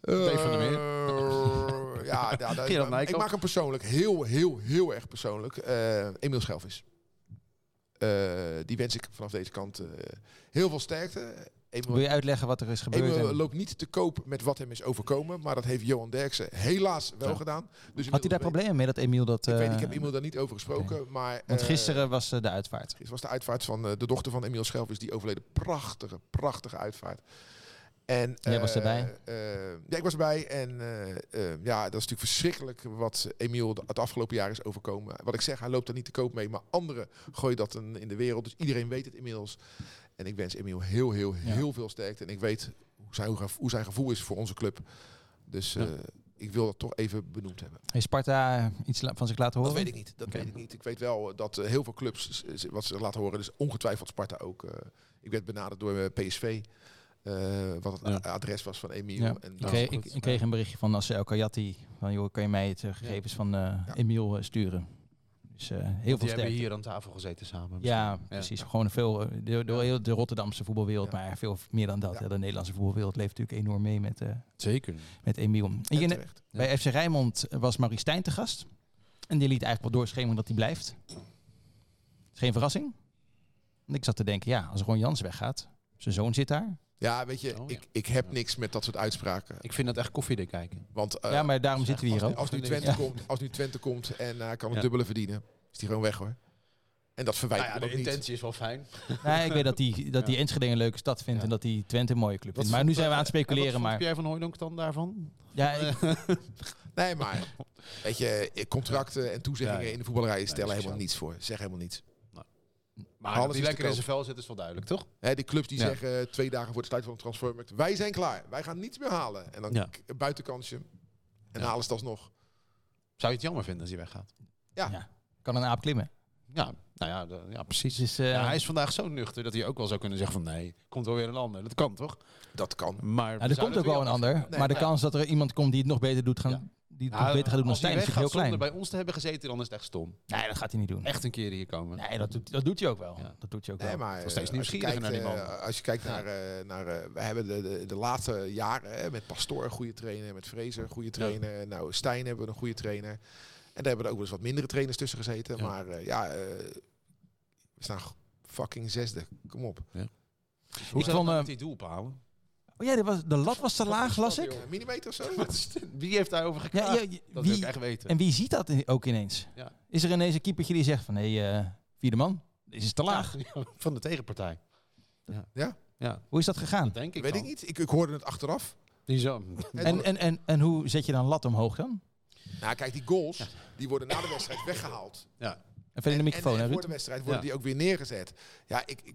Speaker 3: Dave van der Meer.
Speaker 4: Eh, ja, ja, dat-
Speaker 3: Gerard
Speaker 4: ik
Speaker 3: Nijkamp.
Speaker 4: maak hem persoonlijk, heel, heel, heel erg persoonlijk. Eh Emiel Schelvis. Eh, die wens ik vanaf deze kant eh, heel veel sterkte. Emiel,
Speaker 2: Wil je uitleggen wat er is gebeurd?
Speaker 4: Emiel
Speaker 2: en-
Speaker 4: loopt niet te koop met wat hem is overkomen, maar dat heeft Johan Derksen helaas wel
Speaker 3: Ja.
Speaker 4: gedaan. Dus
Speaker 2: Had hij
Speaker 4: inmiddels
Speaker 2: daar
Speaker 4: weet-
Speaker 2: problemen mee dat Emiel dat...
Speaker 4: Ik, weet,
Speaker 2: eh,
Speaker 4: ik heb Emiel daar niet over gesproken, maar...
Speaker 2: Want
Speaker 4: eh,
Speaker 2: gisteren was eh, de uitvaart.
Speaker 4: het was de uitvaart van eh, de dochter van Emiel Schelvis, die overleden. Prachtige, prachtige uitvaart. En,
Speaker 2: Jij
Speaker 4: eh,
Speaker 2: was erbij?
Speaker 4: eh, ja, ik was erbij. En eh, eh, ja, dat is natuurlijk verschrikkelijk wat Emiel de- het afgelopen jaar is overkomen. Wat ik zeg, hij loopt daar niet te koop mee. Maar anderen gooien dat een- in de wereld. Dus iedereen weet het inmiddels. En ik wens Emiel heel, heel,
Speaker 2: Ja.
Speaker 4: heel veel sterkte. En ik weet hoe zijn, hoe zijn gevoel is voor onze club. Dus eh, ik wil dat toch even benoemd hebben.
Speaker 2: Heeft Sparta iets la- van zich laten
Speaker 4: Dat
Speaker 2: horen?
Speaker 4: weet ik niet. Dat
Speaker 2: Oké.
Speaker 4: weet ik niet. Ik weet wel eh, dat eh, heel veel clubs, eh, z- wat ze laten horen, dus ongetwijfeld Sparta ook. eh, ik werd benaderd door eh, PSV, eh, wat het
Speaker 3: Ja.
Speaker 4: a- adres was van Emiel.
Speaker 2: Ja.
Speaker 4: En
Speaker 2: Ik,
Speaker 4: dat-
Speaker 2: kreeg,
Speaker 3: goed.
Speaker 2: ik, ik kreeg een berichtje van Nasser El Kayati. Van joh, kan je mij het eh, gegevens van eh, Emiel eh, sturen? Dus eh, heel veel
Speaker 3: Die hebben
Speaker 2: sterk.
Speaker 3: hier aan tafel gezeten samen.
Speaker 2: Ja, precies. Gewoon veel, eh, de, de, heel de Rotterdamse voetbalwereld, maar veel meer dan dat.
Speaker 4: Ja.
Speaker 2: hè. De Nederlandse voetbalwereld leeft natuurlijk enorm mee met, eh
Speaker 3: Zeker.
Speaker 2: met Emiel.
Speaker 4: en
Speaker 2: Hier in-
Speaker 4: terecht.
Speaker 2: bij FC Rijnmond eh, was Maurice Stijn te gast. En die liet eigenlijk wel doorschemeren dat hij blijft. Is geen verrassing. En ik zat te denken, ja, als Ron Jans weggaat, zijn zoon zit daar.
Speaker 4: Ja, weet je,
Speaker 3: Oh, ja.
Speaker 4: ik, ik heb niks met dat soort uitspraken.
Speaker 3: Ik vind dat echt koffiedik kijken.
Speaker 4: Want eh,
Speaker 2: ja, maar daarom zitten we hier ook.
Speaker 4: als, nu Twente
Speaker 2: Ja.
Speaker 4: komt, als nu Twente komt en hij kan het
Speaker 3: Ja.
Speaker 4: dubbele verdienen, is die gewoon weg hoor. En dat verwijt
Speaker 3: Nou
Speaker 4: ik hem ook niet.
Speaker 3: is wel fijn.
Speaker 2: Nee, ik weet dat die, dat die
Speaker 3: Ja.
Speaker 2: Enschede een leuke stad vindt
Speaker 3: Ja.
Speaker 2: en dat die Twente een mooie club vindt. Maar
Speaker 3: vond,
Speaker 2: nu zijn we
Speaker 3: eh,
Speaker 2: aan het
Speaker 3: en wat
Speaker 2: speculeren.
Speaker 3: vond
Speaker 2: Maar
Speaker 3: Pierre van Hooydonk dan daarvan?
Speaker 2: ja, ik-
Speaker 4: Nee, maar weet je, eh, contracten en toezeggingen
Speaker 3: Ja, ja.
Speaker 4: in de voetballerij stellen
Speaker 3: Nee,
Speaker 4: helemaal
Speaker 3: zo.
Speaker 4: niets voor. Zeg helemaal niets.
Speaker 3: Maar
Speaker 4: Alles
Speaker 3: dat
Speaker 4: is
Speaker 3: hij
Speaker 4: te
Speaker 3: lekker in
Speaker 4: koop.
Speaker 3: zijn vel zit is wel duidelijk, toch?
Speaker 4: Hè, die clubs die
Speaker 3: Ja.
Speaker 4: zeggen eh, twee dagen voor de sluit van de transfermarkt. Wij zijn klaar. Wij gaan niets meer halen. En dan
Speaker 3: Ja.
Speaker 4: k- een buitenkansje.
Speaker 3: Ja.
Speaker 4: En halen ze het alsnog.
Speaker 3: Zou je het jammer vinden als hij weggaat?
Speaker 2: kan een aap klimmen.
Speaker 3: Ja, nou ja, de- ja precies.
Speaker 2: Dus, eh,
Speaker 3: Ja, hij is vandaag zo nuchter dat hij ook wel zou kunnen zeggen van nee, komt wel weer een ander. Dat kan toch?
Speaker 4: Dat kan.
Speaker 3: Maar
Speaker 2: nou, er komt ook wel een ander.
Speaker 4: Nee,
Speaker 2: maar de
Speaker 4: ja.
Speaker 2: kans dat er iemand komt die het nog beter doet, gaan,
Speaker 3: Ja.
Speaker 2: die het nog beter gaat doen dan Stijn, is natuurlijk heel klein.
Speaker 3: Als bij ons te hebben gezeten, dan is het echt stom.
Speaker 2: Nee, dat gaat hij niet doen.
Speaker 3: Echt een keer hier komen.
Speaker 2: Nee, dat doet, dat doet hij ook wel.
Speaker 3: Ja.
Speaker 2: Dat doet hij ook
Speaker 4: Nee,
Speaker 2: wel.
Speaker 4: maar eh,
Speaker 3: was steeds
Speaker 4: als je
Speaker 3: nieuwsgieriger
Speaker 4: kijkt,
Speaker 3: naar die man.
Speaker 4: eh, als je kijkt naar, eh, naar eh, we hebben de, de, de laatste jaren hè, met Pastoor een goede trainer, met Fraser een goede trainer, nou Stijn hebben we een goede trainer. En daar hebben er ook wel eens wat mindere trainers tussen gezeten.
Speaker 3: Ja.
Speaker 4: Maar eh, ja, eh, we staan g- fucking zesde. Kom op.
Speaker 3: Hoe
Speaker 2: Ik
Speaker 3: zou
Speaker 2: vond,
Speaker 3: hij
Speaker 2: eh,
Speaker 3: die doel bepalen?
Speaker 2: oh ja, dit was, de lat was te laag, las ik.
Speaker 4: Eh, millimeter of zo?
Speaker 3: Wie heeft daarover
Speaker 2: Ja,
Speaker 3: geklaagd?
Speaker 2: ja, je-
Speaker 3: dat wil
Speaker 2: wie,
Speaker 3: ik echt weten.
Speaker 2: en wie ziet dat in- ook ineens?
Speaker 3: Ja.
Speaker 2: Is er ineens een keepertje die zegt van, hé, hey, eh, vierde man, dit is te laag.
Speaker 3: Ja, van de tegenpartij.
Speaker 4: Ja.
Speaker 3: Ja,
Speaker 2: Hoe is dat gegaan?
Speaker 3: dat denk ik
Speaker 4: Weet
Speaker 3: wel.
Speaker 4: ik niet. Ik, ik hoorde het achteraf.
Speaker 3: Die zo.
Speaker 2: En, en, en, en hoe zet je dan lat omhoog dan?
Speaker 4: Nou, kijk, die goals die worden na de wedstrijd weggehaald.
Speaker 2: Even in de
Speaker 4: En-
Speaker 2: microfoon,
Speaker 4: en,
Speaker 2: hè,
Speaker 4: en voor
Speaker 2: Ruud?
Speaker 4: de wedstrijd worden
Speaker 3: Ja.
Speaker 4: die ook weer neergezet. Ja, ik, ik,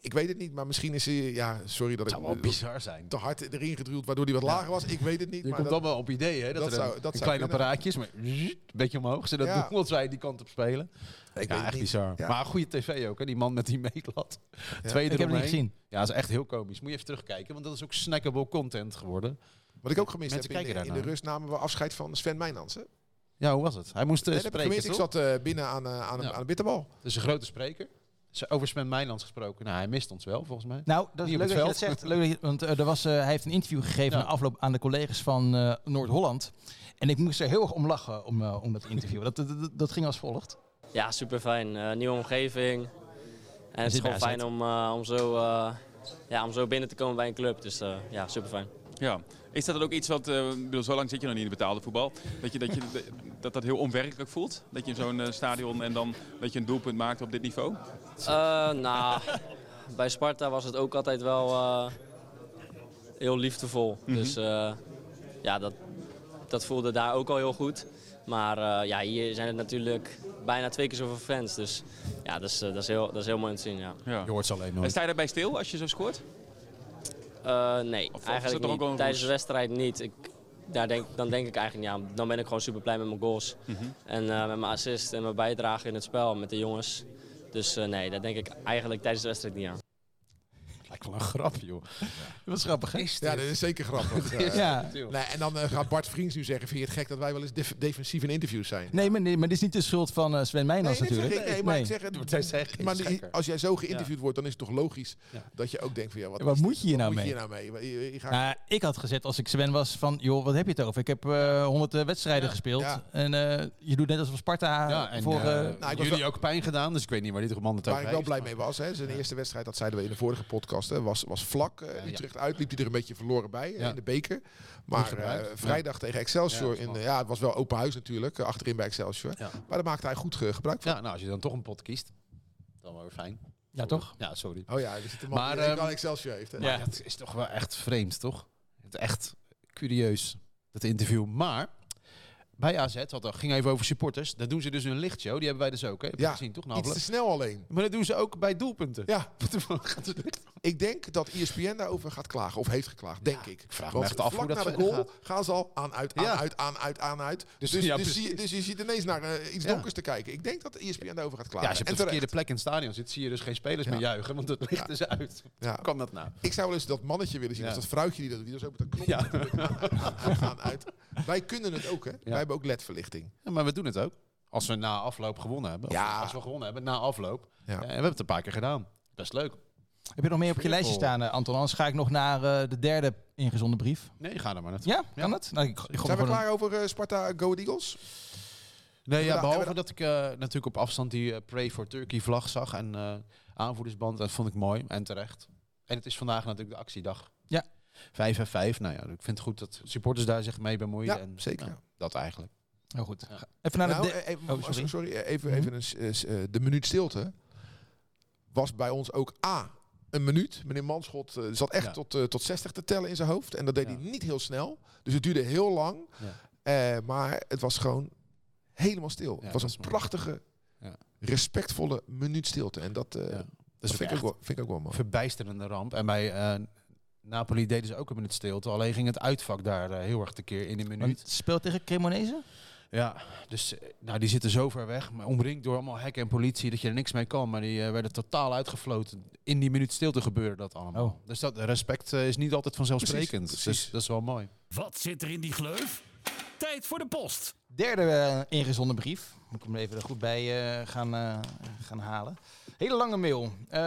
Speaker 4: ik weet het niet, maar misschien is hij... Ja, sorry dat
Speaker 3: Het
Speaker 4: ik
Speaker 3: zou wel bizar zijn.
Speaker 4: te hard erin gedruwd, waardoor die wat lager was. Ik weet het niet.
Speaker 3: Je
Speaker 4: maar
Speaker 3: komt
Speaker 4: dat-
Speaker 3: allemaal op ideeën, hè? Dat,
Speaker 4: dat
Speaker 3: er
Speaker 4: zou-
Speaker 3: een,
Speaker 4: dat
Speaker 3: een
Speaker 4: zou
Speaker 3: klein
Speaker 4: kunnen.
Speaker 3: apparaatjes, maar een beetje omhoog. Ze dat
Speaker 4: Ja.
Speaker 3: doen als wij die kant op spelen.
Speaker 4: ik weet
Speaker 3: ja,
Speaker 4: het
Speaker 3: echt
Speaker 4: niet.
Speaker 3: bizar.
Speaker 4: Ja.
Speaker 3: Maar een goede tv ook, hè? Die man met die meetlat. Tweede
Speaker 2: Ik heb het niet
Speaker 3: eromheen.
Speaker 2: gezien.
Speaker 3: Ja, dat is echt heel komisch. Moet je even terugkijken, want dat is ook snackable content geworden.
Speaker 4: Wat ik ook gemist
Speaker 3: Mensen
Speaker 4: heb, in
Speaker 3: kijken
Speaker 4: de, in de
Speaker 3: daarnaar.
Speaker 4: rust namen we afscheid van Sven Mijnans. Hè?
Speaker 3: Ja, hoe was het? Hij moest eh,
Speaker 4: Nee, dat heb ik
Speaker 3: spreken,
Speaker 4: gemist. Ik
Speaker 3: toch?
Speaker 4: zat eh, binnen aan, eh, aan, een,
Speaker 3: Ja.
Speaker 4: aan een bitterbal.
Speaker 3: Dus een grote spreker. Ze- Over Sven Mijnlands gesproken. Nou, hij mist ons wel, volgens mij.
Speaker 2: Nou, dat is
Speaker 3: Niet
Speaker 2: leuk
Speaker 3: op
Speaker 2: dat
Speaker 3: het
Speaker 2: je dat
Speaker 3: veld.
Speaker 2: zegt. Leuk dat je- want eh, er was, eh, hij heeft een interview gegeven
Speaker 3: Ja.
Speaker 2: na afloop aan de collega's van eh, Noord-Holland. En ik moest er heel erg om lachen om, eh, om dat interview. dat, dat, dat- dat ging als volgt.
Speaker 8: Ja, super fijn. nieuwe omgeving. En
Speaker 2: zit
Speaker 8: het is gewoon
Speaker 2: bij AZ.
Speaker 8: fijn om, eh, om, zo, eh, ja, om zo binnen te komen bij een club. Dus eh, ja, super fijn.
Speaker 9: Ja, is dat dan ook iets wat, eh, ik bedoel, zo lang zit je nog niet in het betaalde voetbal, dat je, dat, je, dat dat heel onwerkelijk voelt? Dat je in zo'n eh, stadion en dan dat je een doelpunt maakt op dit niveau?
Speaker 8: Eh, nou, bij Sparta was het ook altijd wel eh, heel liefdevol.
Speaker 2: Mhm.
Speaker 8: Dus eh, ja, dat, dat voelde daar ook al heel goed. Maar eh, ja, hier zijn het natuurlijk bijna twee keer zoveel fans. Dus ja, dat is, eh, dat is, heel, dat is heel mooi om te zien. Ja.
Speaker 9: Ja.
Speaker 3: Je hoort ze alleen nog.
Speaker 9: En sta je daarbij stil als je zo scoort?
Speaker 8: Eh, nee,
Speaker 9: Of- of is dat
Speaker 8: eigenlijk
Speaker 9: toch ook
Speaker 8: niet.
Speaker 9: wel een
Speaker 8: Tijdens de
Speaker 9: roes?
Speaker 8: wedstrijd niet. Ik, daar denk, dan denk ik eigenlijk niet aan. Dan ben ik gewoon super blij met mijn goals.
Speaker 9: Mhm.
Speaker 8: En eh, met mijn assist en mijn bijdrage in het spel met de jongens. Dus eh, nee, daar denk ik eigenlijk tijdens de wedstrijd niet aan.
Speaker 3: Lijkt wel een grap, joh.
Speaker 2: Dat was grappig, hè?
Speaker 4: Ja, dat is zeker grappig. Eh,
Speaker 2: Ja.
Speaker 4: nee, en dan eh, gaat Bart Vriends nu zeggen, vind je het gek dat wij wel eens def- defensief in interviews zijn?
Speaker 2: Nee, maar, nee, maar dit is niet de schuld van eh, Sven Meijnans
Speaker 4: dat zeg
Speaker 2: natuurlijk.
Speaker 4: ik, nee, maar
Speaker 2: Nee.
Speaker 4: ik zeg het.
Speaker 3: Wat hij zegt is
Speaker 4: Maar die-
Speaker 3: gekker.
Speaker 4: als jij zo geïnterviewd wordt, dan is het toch logisch
Speaker 3: Ja.
Speaker 4: dat je ook denkt van ja, wat,
Speaker 2: Wat
Speaker 4: is
Speaker 2: moet
Speaker 4: dit?
Speaker 2: je hier
Speaker 4: Wat
Speaker 2: nou
Speaker 4: moet je hier nou mee? Je- je- je gaat-
Speaker 2: Nou, ik had gezet als ik Sven was van, joh, wat heb je het over? Ik heb eh 100 eh, wedstrijden gespeeld.
Speaker 4: Ja.
Speaker 2: En eh, je doet net alsof Sparta
Speaker 3: Ja, en
Speaker 2: voor...
Speaker 3: eh,
Speaker 2: eh,
Speaker 3: nou, ik was jullie ook pijn gedaan, dus ik weet niet waar dit man het
Speaker 4: Waar
Speaker 3: over
Speaker 4: ik wel
Speaker 3: heeft,
Speaker 4: blij
Speaker 3: maar-
Speaker 4: mee was, hè, zijn eerste wedstrijd, dat zeiden we in de vorige podcast, hè, was, was vlak. eh,
Speaker 3: ja.
Speaker 4: Utrecht uit, liep hij er een beetje verloren bij hè,
Speaker 3: Ja.
Speaker 4: in de beker. Maar
Speaker 3: gebruikt.
Speaker 4: eh, vrijdag tegen Excelsior,
Speaker 3: Ja,
Speaker 4: in,
Speaker 3: snap.
Speaker 4: eh, ja, het was wel open huis natuurlijk, eh, achterin bij Excelsior.
Speaker 3: Ja.
Speaker 4: Maar daar maakte hij goed ge- gebruik van.
Speaker 3: Ja, nou, als je dan toch een pot kiest, dan wel weer fijn.
Speaker 2: Ja, toch?
Speaker 3: Ja, sorry.
Speaker 4: Oh ja, er zit een man
Speaker 3: Maar,
Speaker 4: die
Speaker 3: ehm,
Speaker 4: al Excelsior heeft. Hè?
Speaker 2: Ja.
Speaker 3: Dat is toch wel echt vreemd, toch? Het echt curieus, dat interview. Maar bij AZ, want dat ging even over supporters. Dan doen ze dus een lichtshow. Die hebben wij dus ook, hè? Heb je
Speaker 4: Ja,
Speaker 3: gezien, toch? Na
Speaker 4: Iets
Speaker 3: afloop?
Speaker 4: te snel alleen.
Speaker 3: Maar dat doen ze ook bij doelpunten.
Speaker 4: Ja,
Speaker 3: Gaat het licht?
Speaker 4: ik denk dat E ESPN daarover gaat klagen. Of heeft geklaagd, denk ik.
Speaker 3: vraag me
Speaker 4: Want
Speaker 3: echt af
Speaker 4: vlak
Speaker 3: hoe dat
Speaker 4: na de
Speaker 3: verder
Speaker 4: goal gaan ze al aan, uit, aan,
Speaker 3: Ja.
Speaker 4: uit, aan, uit, aan, uit. Dus,
Speaker 3: Dus-
Speaker 4: dus,
Speaker 3: ja,
Speaker 4: je-
Speaker 3: precies.
Speaker 4: dus je ziet ineens naar eh, iets
Speaker 3: Ja.
Speaker 4: donkers te kijken. Ik denk dat E ESPN daarover gaat klagen.
Speaker 3: Ja, als je op
Speaker 4: en
Speaker 3: de
Speaker 4: terecht.
Speaker 3: verkeerde plek in het stadion zit, zie je dus geen spelers
Speaker 4: Ja.
Speaker 3: meer juichen, want het licht is uit.
Speaker 4: Ja.
Speaker 3: Hoe kan dat nou?
Speaker 4: Ik zou wel eens dat mannetje willen zien.
Speaker 3: Ja.
Speaker 4: Of dat vrouwtje die dat doet. Die is ook met een knop.
Speaker 3: Ja.
Speaker 4: aan, uit. Wij kunnen het ook, hè? Wij hebben ook ledverlichting.
Speaker 3: Ja, maar we doen het ook. Als we na afloop gewonnen hebben. Of
Speaker 4: Ja.
Speaker 3: Als we gewonnen hebben, na afloop.
Speaker 4: Ja.
Speaker 3: Eh, en we hebben het een paar keer gedaan. Dat is leuk.
Speaker 2: Heb je nog meer op je lijstje staan, eh, Anton? Anders ga ik nog naar eh, de derde ingezonden brief.
Speaker 3: Nee, ga er maar naartoe.
Speaker 2: Ja, kan dat? Nou, ik, ik gooi
Speaker 4: Zijn we
Speaker 2: gewoon
Speaker 4: klaar over eh, Sparta Go Ahead Eagles?
Speaker 3: Nee, ja,
Speaker 4: Hebben we da-
Speaker 3: behalve dat ik eh, natuurlijk op afstand die eh, Pray for Turkey vlag zag en eh, aanvoerdersband. Dat vond ik mooi en terecht. En het is vandaag natuurlijk de actiedag.
Speaker 2: Ja.
Speaker 3: Vijf en vijf. Nou ja, ik vind het goed dat supporters daar zich mee bemoeien.
Speaker 4: Ja,
Speaker 3: en,
Speaker 4: zeker.
Speaker 3: nou, dat eigenlijk.
Speaker 2: een- Oh, goed. Even naar
Speaker 4: Nou,
Speaker 2: de...
Speaker 4: eh, even,
Speaker 2: oh,
Speaker 4: sorry.
Speaker 2: sorry.
Speaker 4: eh, even,
Speaker 3: Mhm.
Speaker 4: even een, s- eh, s- eh, de minuut stilte was bij ons ook A, een minuut. Meneer Manschot eh, zat echt
Speaker 3: Ja.
Speaker 4: tot, eh, tot 60 te tellen in zijn hoofd. En dat deed
Speaker 3: Ja.
Speaker 4: hij niet heel snel. Dus het duurde heel lang.
Speaker 3: Ja.
Speaker 4: Eh, maar het was gewoon helemaal stil.
Speaker 3: Ja,
Speaker 4: het was
Speaker 3: dat is
Speaker 4: een
Speaker 3: mooi.
Speaker 4: prachtige,
Speaker 3: Ja.
Speaker 4: respectvolle minuut stilte. En dat, eh,
Speaker 3: Ja.
Speaker 4: dat
Speaker 3: Dus
Speaker 4: vind, ik ook wel, vind ik ook wel mooi.
Speaker 3: verbijsterende ramp. En bij eh, Napoli deden ze ook een minuut stilte. Alleen ging het uitvak daar eh, heel erg tekeer in een
Speaker 2: want
Speaker 3: minuut.
Speaker 2: het speelt tegen Cremonese?
Speaker 3: Ja, dus eh, nou, die zitten zo ver weg. Maar omringd door allemaal hekken en politie dat je er niks mee kan. Maar die eh, werden totaal uitgefloten. In die minuut stilte gebeurde dat allemaal.
Speaker 2: Oh.
Speaker 3: Dus dat respect eh, is niet altijd vanzelfsprekend. Dus
Speaker 4: Precies, precies.
Speaker 3: dat is wel mooi.
Speaker 1: Wat zit er in die gleuf? Tijd voor de post.
Speaker 2: Derde eh, ingezonden brief. Moet ik hem even er goed bij eh, gaan, eh, gaan halen. Hele lange mail. Eh,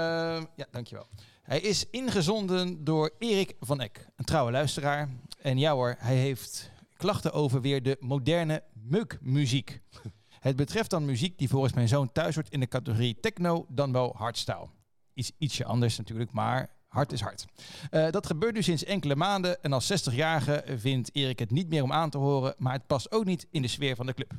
Speaker 2: ja, dankjewel. Hij is ingezonden door Erik van Eck, een trouwe luisteraar. En ja hoor, hij heeft klachten over weer de moderne meukmuziek. Het betreft dan muziek die volgens mijn zoon thuis hoort in de categorie techno, dan wel hardstyle. Iets, ietsje anders natuurlijk, maar hard is hard. Eh, dat gebeurt nu sinds enkele maanden en als 60-jarige vindt Erik het niet meer om aan te horen, maar het past ook niet in de sfeer van de club.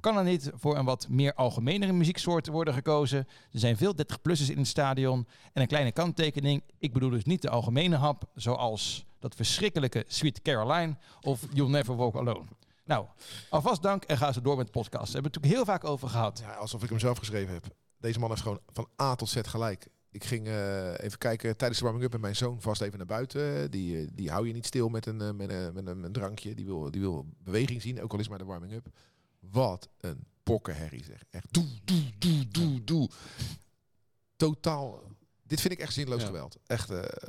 Speaker 2: Kan er niet voor een wat meer algemenere muzieksoort worden gekozen? Er zijn veel 30-plussers in het stadion en een kleine kanttekening. Ik bedoel dus niet de algemene hap, zoals dat verschrikkelijke Sweet Caroline of You'll Never Walk Alone. Nou, alvast dank en ga zo door met de podcast. Daar hebben we het natuurlijk heel vaak over gehad.
Speaker 4: Ja, alsof ik hem zelf geschreven heb. Deze man heeft gewoon van A tot Z gelijk. Ik ging eh, even kijken tijdens de warming-up met mijn zoon vast even naar buiten. Eh, Die, eh, die hou je niet stil met een, eh, met een, met een, een drankje. Die wil, die wil beweging zien, ook al is het maar de warming-up. Wat een pokkenherrie zeg. Echt doe, doe, doe, doe, doe. Totaal. Dit vind ik echt zinloos
Speaker 3: Ja.
Speaker 4: geweld. Echt, eh,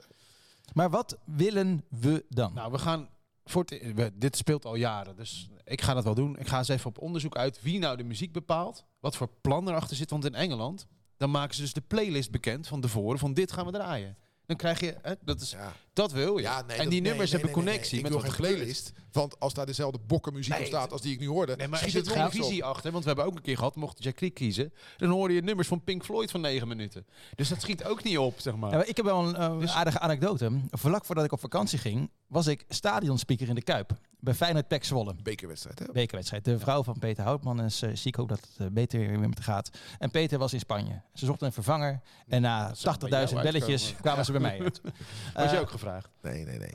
Speaker 2: Maar wat willen we dan?
Speaker 3: Nou, we gaan. Voor het- we- dit speelt al jaren, dus ik ga dat wel doen. Ik ga eens even op onderzoek uit wie nou de muziek bepaalt. Wat voor plan erachter zit. Want in Engeland, dan maken ze dus de playlist bekend van tevoren. Van dit gaan we draaien. Dan krijg je, hè, dat, is,
Speaker 4: ja.
Speaker 3: dat wil je.
Speaker 4: Ja, nee,
Speaker 3: en
Speaker 4: dat-
Speaker 3: die
Speaker 4: nee,
Speaker 3: nummers hebben
Speaker 4: nee, nee, nee,
Speaker 3: connectie
Speaker 4: nee. Ik
Speaker 3: met
Speaker 4: wil
Speaker 3: wat
Speaker 4: geen
Speaker 3: gebeurd is.
Speaker 4: playlist. Want als daar dezelfde bokkenmuziek
Speaker 3: Nee,
Speaker 4: op staat als die ik nu hoorde,
Speaker 3: Nee, maar er
Speaker 4: schiet
Speaker 3: zit
Speaker 4: het
Speaker 3: geen
Speaker 4: nog eens op.
Speaker 3: visie achter. Want we hebben ook een keer gehad, mocht Jack Creek kiezen. Dan hoorde je nummers van Pink Floyd van 9 minuten. Dus dat schiet ook niet op, zeg maar.
Speaker 2: Ja, maar ik heb wel een eh,
Speaker 3: Dus-
Speaker 2: aardige anekdote. Vlak voordat ik op vakantie ging, was ik stadionspeaker in de Kuip. Bij Feyenoord Pek Zwolle.
Speaker 4: Bekerwedstrijd, hè?
Speaker 2: Bekerwedstrijd. De vrouw van Peter Houtman is eh, ziek. Hoop dat het eh, beter weer met haar gaat. En Peter was in Spanje. Ze zochten een vervanger. En na 80.000
Speaker 3: zou bij jou
Speaker 2: belletjes
Speaker 3: uitkomen.
Speaker 2: kwamen ze bij mij uit.
Speaker 3: Was je
Speaker 2: Eh,
Speaker 3: ook gevraagd?
Speaker 4: Nee, nee, nee.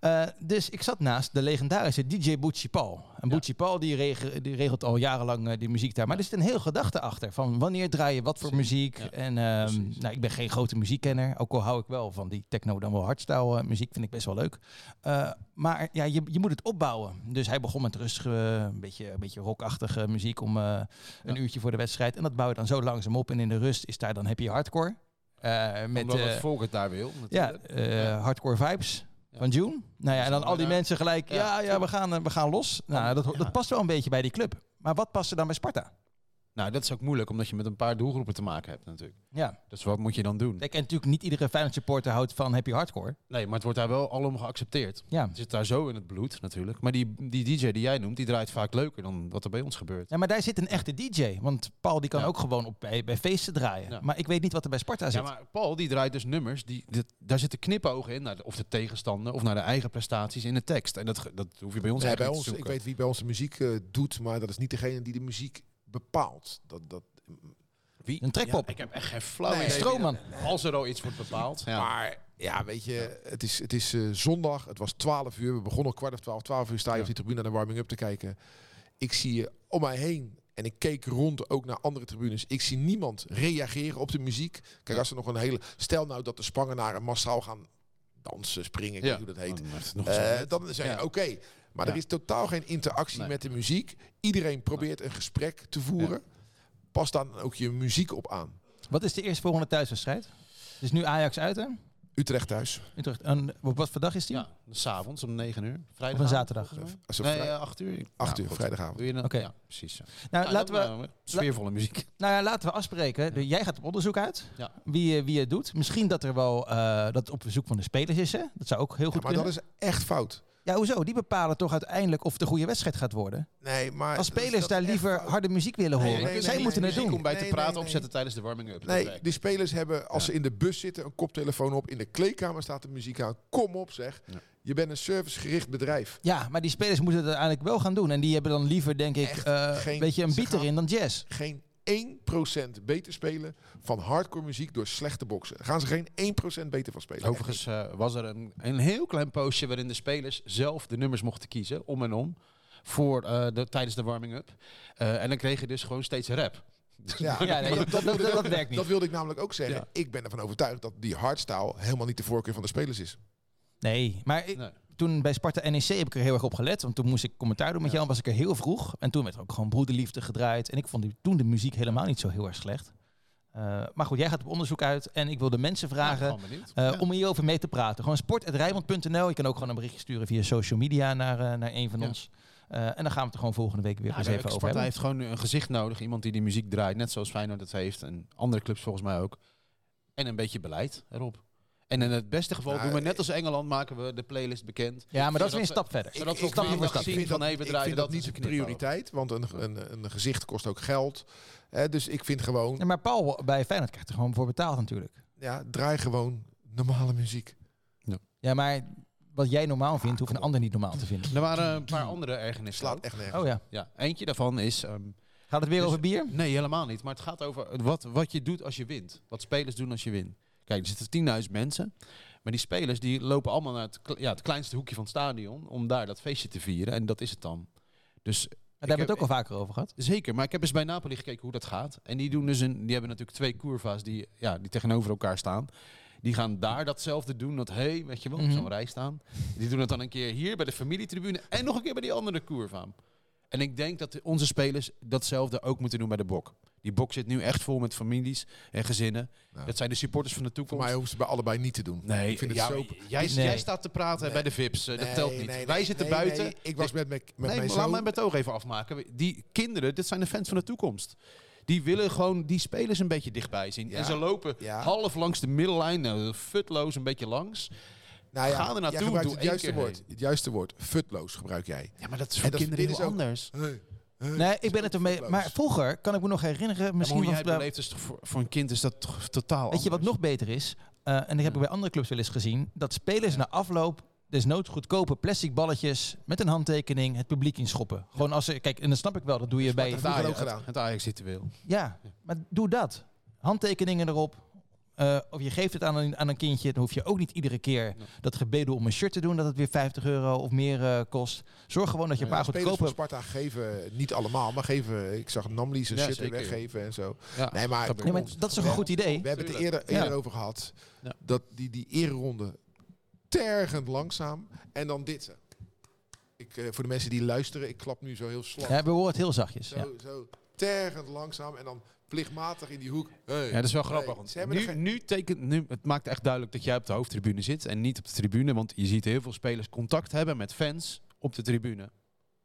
Speaker 2: eh, dus ik zat naast de legendarische DJ Bucci Paul. En
Speaker 3: Ja.
Speaker 2: Bucci Paul die, rege- die regelt al jarenlang eh, die muziek daar. Maar er zit een heel gedachte achter. Van wanneer draai je wat voor muziek.
Speaker 3: Ja,
Speaker 2: En ehm,
Speaker 3: precies.
Speaker 2: nou, ik ben geen grote muziekkenner. Ook al hou ik wel van die techno dan wel hardstyle eh, muziek. Vind ik best wel leuk. Eh, maar ja, je, je moet het opbouwen. Dus hij begon met rustige, een beetje, een beetje rockachtige muziek om eh, een uurtje voor de wedstrijd. En dat bouw je dan zo langzaam op. En in de rust is daar dan happy hardcore. Eh, met,
Speaker 3: Omdat
Speaker 2: eh,
Speaker 3: het volk het daar wil.
Speaker 2: ja,
Speaker 3: natuurlijk.
Speaker 2: eh,
Speaker 3: Ja.
Speaker 2: hardcore vibes
Speaker 3: Ja.
Speaker 2: van June. Nou ja, en dan al die
Speaker 3: Ja.
Speaker 2: mensen gelijk, ja, ja, we, gaan, eh, we gaan los. Nou, dat, ho-
Speaker 3: Ja.
Speaker 2: dat past wel een beetje bij die club. Maar wat past er dan bij Sparta?
Speaker 3: Nou, dat is ook moeilijk, omdat je met een paar doelgroepen te maken hebt natuurlijk.
Speaker 2: Ja,
Speaker 3: Dus wat moet je dan doen?
Speaker 2: Kijk, en natuurlijk niet iedere Feyenoord supporter houdt van happy hardcore.
Speaker 3: Nee, maar het wordt daar wel allemaal geaccepteerd.
Speaker 2: Ja.
Speaker 3: Het zit daar zo in het bloed natuurlijk. Maar die, die DJ die jij noemt, die draait vaak leuker dan wat er bij ons gebeurt.
Speaker 2: ja, maar daar zit een echte DJ. Want Paul die kan
Speaker 3: Ja.
Speaker 2: ook gewoon op, bij, bij feesten draaien.
Speaker 3: Ja.
Speaker 2: Maar ik weet niet wat er bij Sparta
Speaker 3: Ja,
Speaker 2: zit.
Speaker 3: maar Paul die draait dus nummers, die, dit- daar zitten knipogen in, naar de, of de tegenstander, of naar de eigen prestaties in de tekst. En dat, ge- dat hoef je bij ons
Speaker 4: Nee, bij
Speaker 3: eigenlijk niet
Speaker 4: ons, ik
Speaker 3: te zoeken.
Speaker 4: weet wie bij ons de muziek eh, doet, maar dat is niet degene die de muziek bepaalt. Dat, dat,
Speaker 3: Wie?
Speaker 2: Een trekpop.
Speaker 3: Ja, ik heb echt geen flauw
Speaker 4: Nee,
Speaker 3: idee.
Speaker 2: Stroomman.
Speaker 3: Als er al iets wordt bepaald. Ja.
Speaker 4: Maar ja, weet je, het is, het is eh, zondag. Het was 12 uur. We begonnen kwart of 12. 12 uur sta je op die tribune naar de warming-up te kijken. Ik zie eh, om mij heen. En ik keek rond ook naar andere tribunes. Ik zie niemand reageren op de muziek. Kijk, als er nog een hele. Stel nou dat de Spangenaren massaal gaan dansen, springen, ik weet
Speaker 3: Ja. Oh,
Speaker 4: niet hoe dat heet.
Speaker 3: Dan wordt het nog
Speaker 4: Eh,
Speaker 3: zo.
Speaker 4: dan zeg je
Speaker 3: Ja.
Speaker 4: oké. Maar er
Speaker 3: Ja.
Speaker 4: is totaal geen interactie
Speaker 3: Nee.
Speaker 4: met de muziek. Iedereen probeert een gesprek te voeren. Pas dan ook je muziek op aan.
Speaker 2: Wat is de eerstvolgende thuiswedstrijd? Dus nu Ajax uit, hè?
Speaker 4: Utrecht thuis.
Speaker 2: Utrecht. En op wat voor dag is die?
Speaker 3: Ja, s'avonds om 9 uur.
Speaker 2: Op
Speaker 3: Vrijdag.
Speaker 2: een zaterdag.
Speaker 4: Als
Speaker 3: Nee,
Speaker 4: vrij-
Speaker 3: eh, 8 uur.
Speaker 4: 8
Speaker 3: Ja,
Speaker 4: uur,
Speaker 3: goed.
Speaker 4: vrijdagavond.
Speaker 3: Doe je dan-
Speaker 2: Oké.
Speaker 3: Ja, precies. Ja.
Speaker 2: Nou,
Speaker 3: Ja,
Speaker 2: laten
Speaker 3: dat-
Speaker 2: we,
Speaker 3: nou, sfeervolle muziek.
Speaker 2: nou ja, laten we afspreken. De- Jij gaat op onderzoek uit.
Speaker 3: Ja.
Speaker 2: Wie, eh, wie het doet. Misschien dat er wel eh, dat het op verzoek van de spelers is, hè? Dat zou ook heel
Speaker 4: Ja,
Speaker 2: goed
Speaker 4: maar
Speaker 2: kunnen.
Speaker 4: dat is echt fout.
Speaker 2: Ja, hoezo? Die bepalen toch uiteindelijk of het een goede wedstrijd gaat worden.
Speaker 4: Nee, maar
Speaker 2: Als
Speaker 4: dat is
Speaker 2: spelers
Speaker 4: dus dat
Speaker 2: daar
Speaker 4: echt
Speaker 2: liever
Speaker 4: fout.
Speaker 2: harde muziek willen horen.
Speaker 4: nee, nee,
Speaker 2: Zij
Speaker 4: nee,
Speaker 2: moeten
Speaker 4: nee,
Speaker 2: het
Speaker 4: nee,
Speaker 2: doen.
Speaker 3: Om bij te
Speaker 4: Nee,
Speaker 3: praten
Speaker 4: nee,
Speaker 3: opzetten tijdens de warming-up. Dat
Speaker 4: Nee,
Speaker 3: werkt.
Speaker 4: die spelers hebben, als ze in de bus zitten, een koptelefoon op. In de kleedkamer staat de muziek aan. Kom op zeg. Je bent een servicegericht bedrijf.
Speaker 2: Ja, maar die spelers moeten het uiteindelijk wel gaan doen. En die hebben dan liever, denk ik,
Speaker 4: Echt
Speaker 2: eh,
Speaker 4: geen-
Speaker 2: een beetje een
Speaker 4: ze
Speaker 2: beat
Speaker 4: gaan-
Speaker 2: erin dan jazz.
Speaker 4: Geen 1% beter spelen van hardcore muziek door slechte boksen. Daar gaan ze geen 1% beter van spelen.
Speaker 3: Overigens eh, was er een, een heel klein postje waarin de spelers zelf de nummers mochten kiezen, om en om, voor, eh, de, tijdens de warming-up. Eh, en dan kreeg je dus gewoon steeds rap.
Speaker 4: Echt. Ja.
Speaker 2: Ja, nee, dat, dat, dat, dat werkt niet.
Speaker 4: Dat wilde ik namelijk ook zeggen.
Speaker 3: Ja.
Speaker 4: Ik ben ervan overtuigd dat die hardstyle helemaal niet de voorkeur van de spelers is.
Speaker 2: Nee, maar ik-
Speaker 3: Nee.
Speaker 2: toen bij Sparta NEC heb ik er heel erg op gelet. Want toen moest ik commentaar doen met jou. was ik er heel vroeg. En toen werd er ook gewoon broederliefde gedraaid. En ik vond die, toen de muziek helemaal niet zo heel erg slecht. Eh, maar goed, jij gaat op onderzoek uit. En ik wil de mensen vragen
Speaker 3: Nou, Gewoon benieuwd.
Speaker 2: eh, om hierover mee te praten. Gewoon sport.rijmond.nl. Je kan ook gewoon een berichtje sturen via social media naar, eh, naar een van
Speaker 3: Ja.
Speaker 2: ons. Eh, en dan gaan we het er gewoon volgende week weer
Speaker 3: Ja,
Speaker 2: eens
Speaker 3: de
Speaker 2: dus even over
Speaker 3: Sparta
Speaker 2: hebben.
Speaker 3: heeft gewoon een gezicht nodig. Iemand die die muziek draait, net zoals Feyenoord dat heeft. En andere clubs volgens mij ook. En een beetje beleid erop. En in het beste geval
Speaker 4: Nou,
Speaker 3: doen we net als Engeland, maken we de playlist bekend.
Speaker 2: Ja, maar dat is weer een
Speaker 3: Zodat
Speaker 2: stap verder.
Speaker 3: zodat
Speaker 4: Ik-
Speaker 3: we
Speaker 4: ik
Speaker 3: stapje
Speaker 4: vind
Speaker 3: voor
Speaker 4: dat-
Speaker 3: stapje
Speaker 4: ik vind
Speaker 3: van
Speaker 4: dat-
Speaker 3: even
Speaker 4: ik
Speaker 3: draaien,
Speaker 4: vind
Speaker 3: dat
Speaker 4: dat
Speaker 3: is
Speaker 4: niet
Speaker 3: een
Speaker 4: de
Speaker 3: knipper.
Speaker 4: prioriteit, want een, een, een gezicht kost ook geld. Hè, dus ik vind gewoon,
Speaker 2: Ja, maar Paul bij Feyenoord krijgt er gewoon voor betaald natuurlijk.
Speaker 4: ja, draai gewoon normale muziek.
Speaker 2: Ja, maar wat jij normaal vindt, hoeft een ander niet normaal te vinden.
Speaker 3: Er waren een paar andere ergernissen.
Speaker 4: Slaat
Speaker 3: ook.
Speaker 4: echt nergens.
Speaker 2: Oh ja.
Speaker 3: Ja, eentje daarvan is... ehm,
Speaker 2: Gaat het weer
Speaker 3: Dus-
Speaker 2: over bier?
Speaker 3: Nee, helemaal niet. Maar het gaat over wat, wat je doet als je wint. Wat spelers doen als je wint. Kijk, er zitten 10.000 mensen. Maar die spelers die lopen allemaal naar het, kle- ja, het kleinste hoekje van het stadion. om daar dat feestje te vieren. En dat is het dan. Dus
Speaker 2: Maar daar
Speaker 3: Ik
Speaker 2: hebben we het ook al
Speaker 3: heb-
Speaker 2: vaker over gehad.
Speaker 3: zeker. Maar ik heb eens bij Napoli gekeken hoe dat gaat. En die, doen dus een, die hebben natuurlijk twee curva's die, ja, die tegenover elkaar staan. Die gaan daar datzelfde doen. Dat hé, hey, weet je wel, op
Speaker 2: Mhm.
Speaker 3: zo'n rij staan. Die doen het dan een keer hier bij de familietribune. En nog een keer bij die andere curva. En ik denk dat onze spelers datzelfde ook moeten doen bij de bok. Die bok zit nu echt vol met families en gezinnen.
Speaker 4: Nou.
Speaker 3: Dat zijn de supporters van de
Speaker 4: Voor
Speaker 3: toekomst.
Speaker 4: mij hoeven ze bij allebei niet te doen.
Speaker 3: nee,
Speaker 4: ik vind het
Speaker 3: ja,
Speaker 4: zo...
Speaker 3: jij,
Speaker 2: Nee.
Speaker 3: jij staat te praten bij de VIP's. eh, dat
Speaker 4: Nee,
Speaker 3: telt niet.
Speaker 4: nee, nee,
Speaker 3: Wij zitten
Speaker 4: nee,
Speaker 3: buiten. dus
Speaker 4: nee. Ik was met, mijn- met
Speaker 3: Nee,
Speaker 4: mijn
Speaker 3: maar laat
Speaker 4: zoon.
Speaker 3: mij met het oog even afmaken. Die kinderen, dit zijn de fans van de toekomst. Die willen gewoon die spelers een beetje dichtbij zien.
Speaker 4: Ja.
Speaker 3: En ze lopen
Speaker 4: Ja.
Speaker 3: half langs de middellijn, eh, futloos een beetje langs.
Speaker 4: nou
Speaker 3: ga er
Speaker 4: jij
Speaker 3: naartoe,
Speaker 4: gebruikt
Speaker 3: doe
Speaker 4: het
Speaker 3: één
Speaker 4: juiste
Speaker 3: keer
Speaker 4: woord.
Speaker 3: heen.
Speaker 4: Het juiste woord. Futloos gebruik jij.
Speaker 3: Ja, maar dat is
Speaker 4: voor
Speaker 3: voor
Speaker 4: dat-
Speaker 3: kinderen
Speaker 4: dit
Speaker 3: heel
Speaker 4: is ook-
Speaker 3: anders.
Speaker 4: Hey,
Speaker 2: Nee, ik ben het ermee. Maar vroeger kan ik me nog herinneren,
Speaker 3: Misschien
Speaker 2: misschien
Speaker 3: hoe jij
Speaker 2: was
Speaker 3: het
Speaker 2: het bij-
Speaker 3: beleeft is toch voor, voor een kind is dat toch totaal
Speaker 2: Weet je wat
Speaker 3: anders.
Speaker 2: nog beter is? Eh, en dat heb ik bij andere clubs wel eens gezien. Dat spelers na afloop desnoods goedkope plastic balletjes met een handtekening het publiek inschoppen. Gewoon als ze... Kijk, en dat snap ik wel. Dat doe je bij...
Speaker 4: heeft vroeger ook
Speaker 3: het,
Speaker 4: gedaan.
Speaker 3: het Ajax-ritueel.
Speaker 2: Ja, maar doe dat. Handtekeningen erop. Eh, of je geeft het aan een, aan een kindje. Dan hoef je ook niet iedere keer dat gebeden om een shirt te doen. Dat het weer 50 euro of meer eh, kost. Zorg gewoon dat je een paar
Speaker 4: Spelers van
Speaker 2: goedkope...
Speaker 4: Sparta geven, eh, niet allemaal, maar geven... eh, Ik zag Namli zijn
Speaker 3: Ja,
Speaker 4: shit weer
Speaker 3: zeker.
Speaker 4: weggeven en zo.
Speaker 3: Ja.
Speaker 4: Nee, maar...
Speaker 3: Dat
Speaker 2: Nee, maar dat is toch een goed idee?
Speaker 4: We hebben het
Speaker 3: Tuurlijk.
Speaker 4: eerder,
Speaker 2: Ja.
Speaker 4: eerder over gehad.
Speaker 3: Ja.
Speaker 4: Dat die, die ereronde tergend langzaam. En dan dit. Ik, eh, voor de mensen die luisteren, ik klap nu zo heel slap.
Speaker 2: Ja, we horen het heel zachtjes.
Speaker 4: zo,
Speaker 2: Ja.
Speaker 4: zo tergend langzaam en dan plichtmatig in die hoek. Hey.
Speaker 3: Ja, dat is wel grappig.
Speaker 4: Nee,
Speaker 3: want
Speaker 4: ze hebben
Speaker 3: nu,
Speaker 4: er geen-
Speaker 3: nu tekent, nu, het maakt echt duidelijk dat jij op de hoofdtribune zit en niet op de tribune. Want je ziet heel veel spelers contact hebben met fans op de tribune.